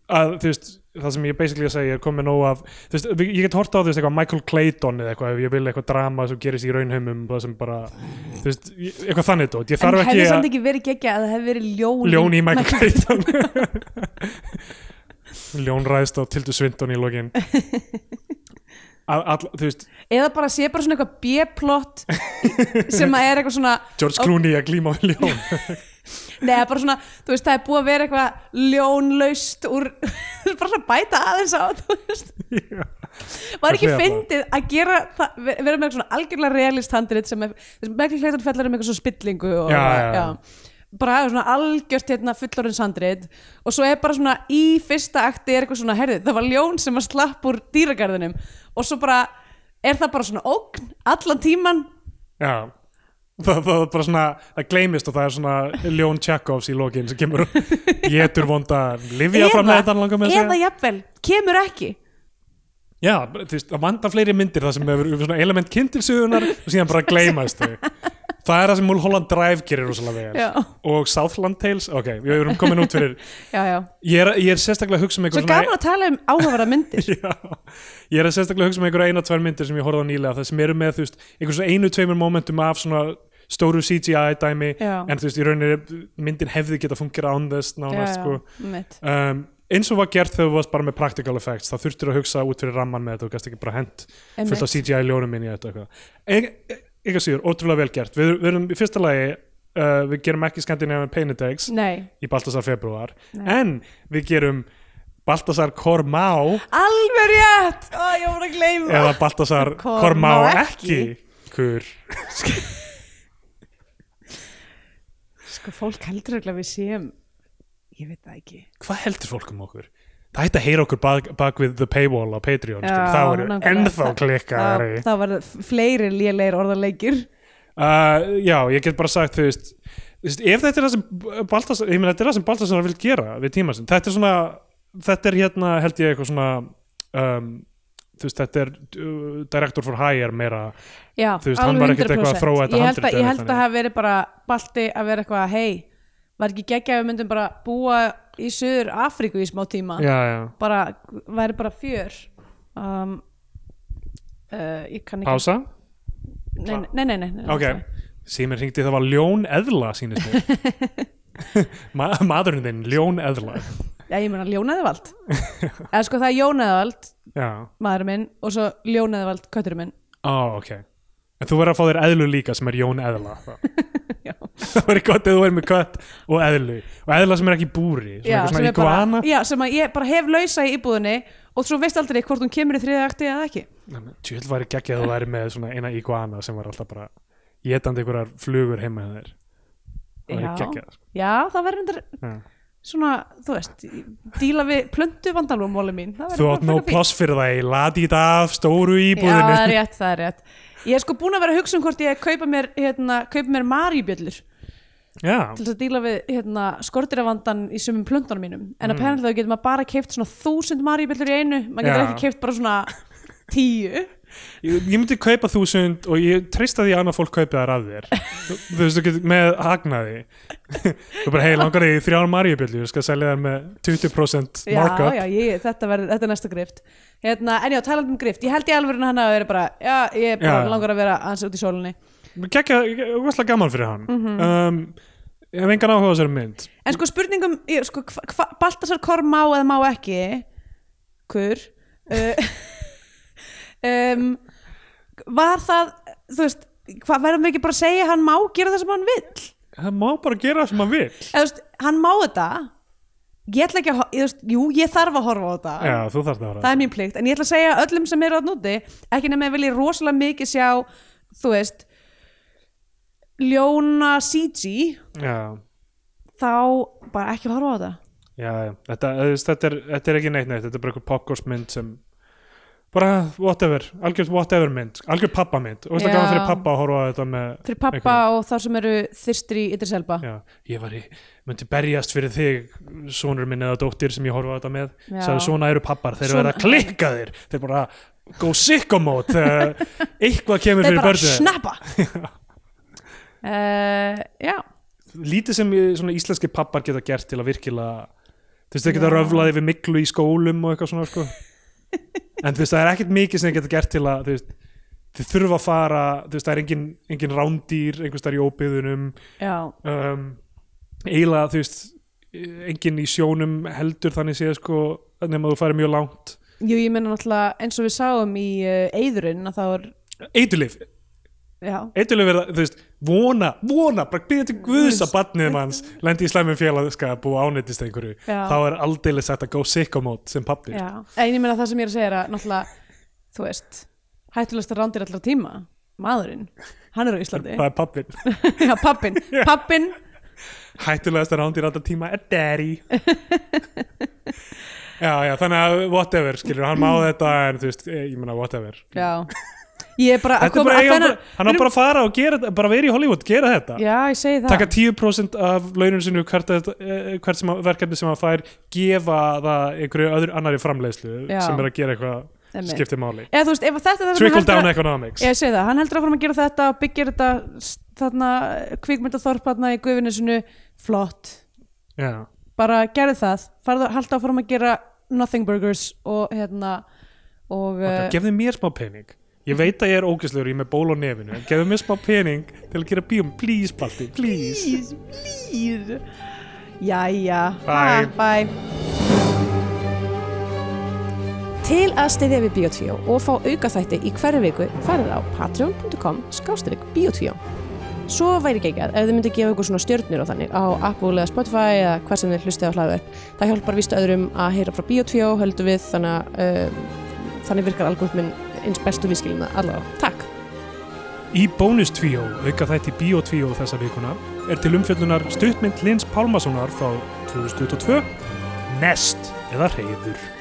Speaker 1: að þú veist, það sem ég basically að segja er komið nóg af, þú veist, við- ég get horta á þú veist eitthvað Michael Clayton eða eitthvað ef ég vil eitthvað drama sem gerist í raunheimum það sem bara, þú veist, ég- eitthvað þannig dót ég
Speaker 2: en
Speaker 1: þarf
Speaker 2: hefði
Speaker 1: ekki
Speaker 2: samt
Speaker 1: að
Speaker 2: ekki verið geggja að það hefði verið ljón
Speaker 1: ljón í Michael Clayton ljón ræðst á Tildu Svindon í lokin að, all, þú veist,
Speaker 2: eða bara sé bara svona eitthvað B-plot sem að er eitthvað svona
Speaker 1: George Clooney að glíma á ljón
Speaker 2: neða bara svona, þú veist, það er búið að vera eitthvað ljónlaust úr bara svona bæta aðeins á, þú veist
Speaker 1: Já.
Speaker 2: var ekki
Speaker 1: Það hlýjar
Speaker 2: fyndið að gera það, ver- vera með eitthvað svona algjörlega realist handrit sem er, Michael Clayton fjallar um eitthvað svona spillingu og
Speaker 1: Já, já, já.
Speaker 2: bara svona algjört hérna fullorins handrit og svo er bara svona í fyrsta akti er eitthvað svona, herðið, það var ljón sem að slapp úr dýragarðinum og svo bara er það bara svona ógn allan tíman
Speaker 1: Já Það, það, er bara svona, það gleymist og það er svona Ljón Tjekovs í lokin sem kemur og getur vonda livja fram með þetta langar með að
Speaker 2: eða
Speaker 1: segja
Speaker 2: jafnvel, kemur ekki
Speaker 1: Já, þú veist, það vanda fleiri myndir það sem hefur svona element kynntilsugunar og síðan bara gleymast þau Það er það sem Mulholland Drive gerir rosalega vel
Speaker 2: Já.
Speaker 1: og Southland Tales, ok, við erum komin út fyrir
Speaker 2: já, já.
Speaker 1: Ég er, ég er sérstaklega að hugsa um
Speaker 2: svo
Speaker 1: eitthvað
Speaker 2: gaman að tala um áhugaverða myndir
Speaker 1: Já, ég er að sérstaklega hugsa um einhverja eina tvær myndir sem ég horfði á nýlega, það sem eru með þú veist, einhver svona einu tveimur momentum af svona stóru CGI dæmi
Speaker 2: Já.
Speaker 1: en þú veist, í rauninni myndin hefði geta fungera án þess nánast sko
Speaker 2: einmitt.
Speaker 1: um, eins og var gert þegar þú varst bara með practical effects þá þurftir að hugsa út fyrir ramman með þetta og gæst ekki bara hent fullt af
Speaker 2: Einmitt.
Speaker 1: CGI ljónum minni eitthvað e, eitthvað síður, ótrúlega vel gert við, við erum í fyrsta lagi uh, við gerum ekki Scandinavian Painitex
Speaker 2: nei,
Speaker 1: í Baltasar februar
Speaker 2: Nei.
Speaker 1: en við gerum Baltasar Kormá
Speaker 2: alveg rétt Ó, ég voru að gleyma
Speaker 1: eða Baltasar
Speaker 2: Kormá
Speaker 1: Kormá ekki
Speaker 2: ekki.
Speaker 1: Kur.
Speaker 2: sko fólk heldur ekki að við séum ég veit það ekki
Speaker 1: hvað heldur fólk um okkur? það hætti að heyra okkur bak, bak við the paywall á Patreon
Speaker 2: Já,
Speaker 1: já, þá eru
Speaker 2: nákvæmlega.
Speaker 1: ennþá
Speaker 2: Það-
Speaker 1: klikkari
Speaker 2: þá var fleiri lélegir orðarleikir
Speaker 1: uh, já, ég get bara sagt þú veist, þú veist ef þetta er það sem Baltasar, ég meina þetta er það sem Baltasar vil gera við tíma sinn, þetta er svona þetta er hérna held ég eitthvað svona um, þú veist, þetta er uh, director for hire meira
Speaker 2: já,
Speaker 1: Þú veist, hann var ekkert eitthvað að þróa þetta
Speaker 2: ég held að,
Speaker 1: handrit eða
Speaker 2: ég held
Speaker 1: þannig.
Speaker 2: að það hafi verið bara balti að vera eitthvað hei, var ekki geggja að við myndum bara búa í söður Afríku í smá tíma
Speaker 1: já, já,
Speaker 2: bara, væri bara fjör um, uh, ég kann ekki
Speaker 1: pása
Speaker 2: nei, nei, nei, nei, nei
Speaker 1: Ok, síminn ringdi það var ljón eðla sínist mér Ma Maðurinn þinn, ljón eðla
Speaker 2: Já, ég meina ljónaðvald eða sko það er jónaðvald
Speaker 1: Já,
Speaker 2: maðurinn minn og svo ljónaðvald kötturinn minn
Speaker 1: á ok En þú verður að fá þér eðlu líka sem er ljón eðla Það
Speaker 2: Já,
Speaker 1: verður gott eða þú verður með kött og eðlu Og eðla sem er ekki í búri Svona
Speaker 2: já,
Speaker 1: eitthvað
Speaker 2: sem er
Speaker 1: svona
Speaker 2: bara,
Speaker 1: iguana
Speaker 2: já, sem að ég bara hef lausa í íbúðinni og svo veist aldrei hvort hún kemur í þriða akti eða ekki
Speaker 1: Tjöld væri geggjað að þú væri með svona eina iguana sem var alltaf bara Étandi einhverjar flugur heima hjá þér Það væri
Speaker 2: Já,
Speaker 1: geggjað sko.
Speaker 2: já það verður endur
Speaker 1: Já.
Speaker 2: svona, þú veist, díla við plöndu vandalum móli mín Það væri
Speaker 1: Þú
Speaker 2: bara
Speaker 1: átt nóg
Speaker 2: frekar fínt.
Speaker 1: pláss fyrir það í ladít af stóru
Speaker 2: Já, það er
Speaker 1: íbúðinu
Speaker 2: rétt, það er rétt Ég er sko búin að vera að hugsa um hvort ég kaupa mér, hérna, kaupa mér maribjöllur
Speaker 1: Já,
Speaker 2: til þess að díla við hérna, skortiravandan í sumum plöndunum mínum en mm. apparently þá getur maður bara keift svona þúsund maribillur í einu, maður getur
Speaker 1: Já.
Speaker 2: ekki keift bara svona tíu
Speaker 1: ég, ég myndi kaupa þúsund og ég treysta því að annað fólk kaupi þær að þér þú, þú veist, þú getur með hagnaði þú bara, hei, langar þig í þrjár marjubjöldu ég skal selja þær með 20%
Speaker 2: já,
Speaker 1: markup
Speaker 2: já, ég, þetta, verð, þetta er næsta grift hérna, en já, talandi um grift, ég held í alvöru hann að vera bara, já, ég er bara
Speaker 1: Já.
Speaker 2: langar að vera aðeins út í sólinni,
Speaker 1: Kekja, úrslag gaman fyrir hann
Speaker 2: Mhm.
Speaker 1: um, ég hef engan áhuga á þessari mynd
Speaker 2: en sko spurningum ég, sko, hva, hva, Baltasar Korm má eða má ekki kur uh, um, var það þú veist, hvað verðum við ekki bara að segja hann má gera það sem hann vill
Speaker 1: það má bara gera það sem hann vil
Speaker 2: eða, þú veist, hann má þetta ég ætla ekki að, ho- ég, þú veist, jú, ég þarf að horfa á þetta
Speaker 1: já, þú þarft að
Speaker 2: það
Speaker 1: vera
Speaker 2: er mín plikt, en ég ætla að segja öllum sem eru að núti, ekki nema að vilja rosalega mikið sjá, þú veist ljóna CG,
Speaker 1: já,
Speaker 2: þá bara ekki horfa á þetta
Speaker 1: já, já. Þetta, þú veist, þetta, er, þetta er ekki neitt neitt þetta er bara einhver popkorsmynd sem bara whatever, algjörð whatever mynd algjörð pappa mynd, úrslag
Speaker 2: Já.
Speaker 1: gaman fyrir pappa að horfa á þetta með
Speaker 2: fyrir pappa og þá sem eru þyrstir í Idris Elba
Speaker 1: Já, ég var í, myndi berjast fyrir þig sonur minn eða dóttir sem ég horfa á þetta með
Speaker 2: Já.
Speaker 1: sagði svona eru pappar, þeir
Speaker 2: Svona-
Speaker 1: verða klikkaðir þeir bara go sicko mode þegar eitthvað kemur
Speaker 2: þeir
Speaker 1: fyrir
Speaker 2: bara
Speaker 1: börnum
Speaker 2: snappa uh, já
Speaker 1: lítið sem ég- svona íslenski pappar geta gert til að virkilega þú veist, þeir geta
Speaker 2: Já.
Speaker 1: röflaði við miklu í skólum og eitthvað svona sko. en þú veist, það er ekkert mikið sem þeir geta gert til að þú veist, þeir þurfa að fara þú veist, það er engin, engin rándýr einhvers þar í óbyðunum
Speaker 2: já,
Speaker 1: um, eiginlega, þú veist engin í sjónum heldur þannig séð sko, nema þú farið mjög langt
Speaker 2: Jú, ég menna náttúrulega eins og við sáum í uh, eðurinn að þá er
Speaker 1: eitulif,
Speaker 2: já,
Speaker 1: eitulif er það, þú veist vona, vona, bara byrja til guðs að barnið hans lendi í slæmum félagskap og ánættist einhverju
Speaker 2: já,
Speaker 1: þá er aldeilis þetta go sicko mode sem pappi
Speaker 2: já. en ég menna það sem ég er að segja er að náttúrulega þú veist, hættulegsta rándir allra tíma maðurinn, hann er á Íslandi
Speaker 1: það er pappin
Speaker 2: já, pappin, pappin
Speaker 1: hættulegast að rándir alltaf tíma er daddy já já þannig að whatever skilur hann má þetta en þú veist eh, ég meina whatever
Speaker 2: já, ég er bara að
Speaker 1: þetta er
Speaker 2: koma
Speaker 1: bara,
Speaker 2: að
Speaker 1: eiga,
Speaker 2: þennan-
Speaker 1: bara, hann á bara að fara og gera þetta bara verið í Hollywood gera þetta
Speaker 2: já, ég segi það
Speaker 1: taka 10% af launum sinu hvert, þetta- eh, hvert sem, að- verkefni sem hann fær gefa það einhverju öðru annari framleiðslu
Speaker 2: Já.
Speaker 1: sem er að gera eitthvað
Speaker 2: Einmitt.
Speaker 1: skiptir máli
Speaker 2: eða þú veist, ef að þetta er það sem
Speaker 1: trickle
Speaker 2: hann heldur
Speaker 1: down
Speaker 2: að-
Speaker 1: economics
Speaker 2: Ég segi það, hann heldur áfram að gera þetta og byggir þetta s- þarna kvikmyndaþorp þarna í gufinni sinu flott,
Speaker 1: já.
Speaker 2: bara gerði það farðu, halda áfram að gera nothing burgers og hérna og
Speaker 1: Magga,
Speaker 2: eh,
Speaker 1: gefðu mér smá pening ég veit að ég er ógæslegur, ég er með ból á nefinu en gefðu mér smá pening til að gera bíum please Balti, please
Speaker 2: please, please Jæja,
Speaker 1: Bye.
Speaker 2: Ha, bye.
Speaker 3: Til að styðja við Bíotvíó og fá aukaþætti í hverju viku farið á patreon.com skástrík Bíotvíó. Svo væri geggjað ef þið myndi gefa ykkur svona stjörnur á þannig á Apple eða Spotify eða hvað sem þið hlustið á hlaðu. Það hjálpar víst öðrum að heyra frá Bíotvíó, höldum við, þannig, að, um, þannig virkar algoritminn eins bestu viðskilum það allavega. Takk!
Speaker 1: Í bónustvíó, auka þætti bíotvíó þessa vikuna, er til umfjöllunar stuttmynd Lins Pálmasonar frá 2022 Nest eða Reyður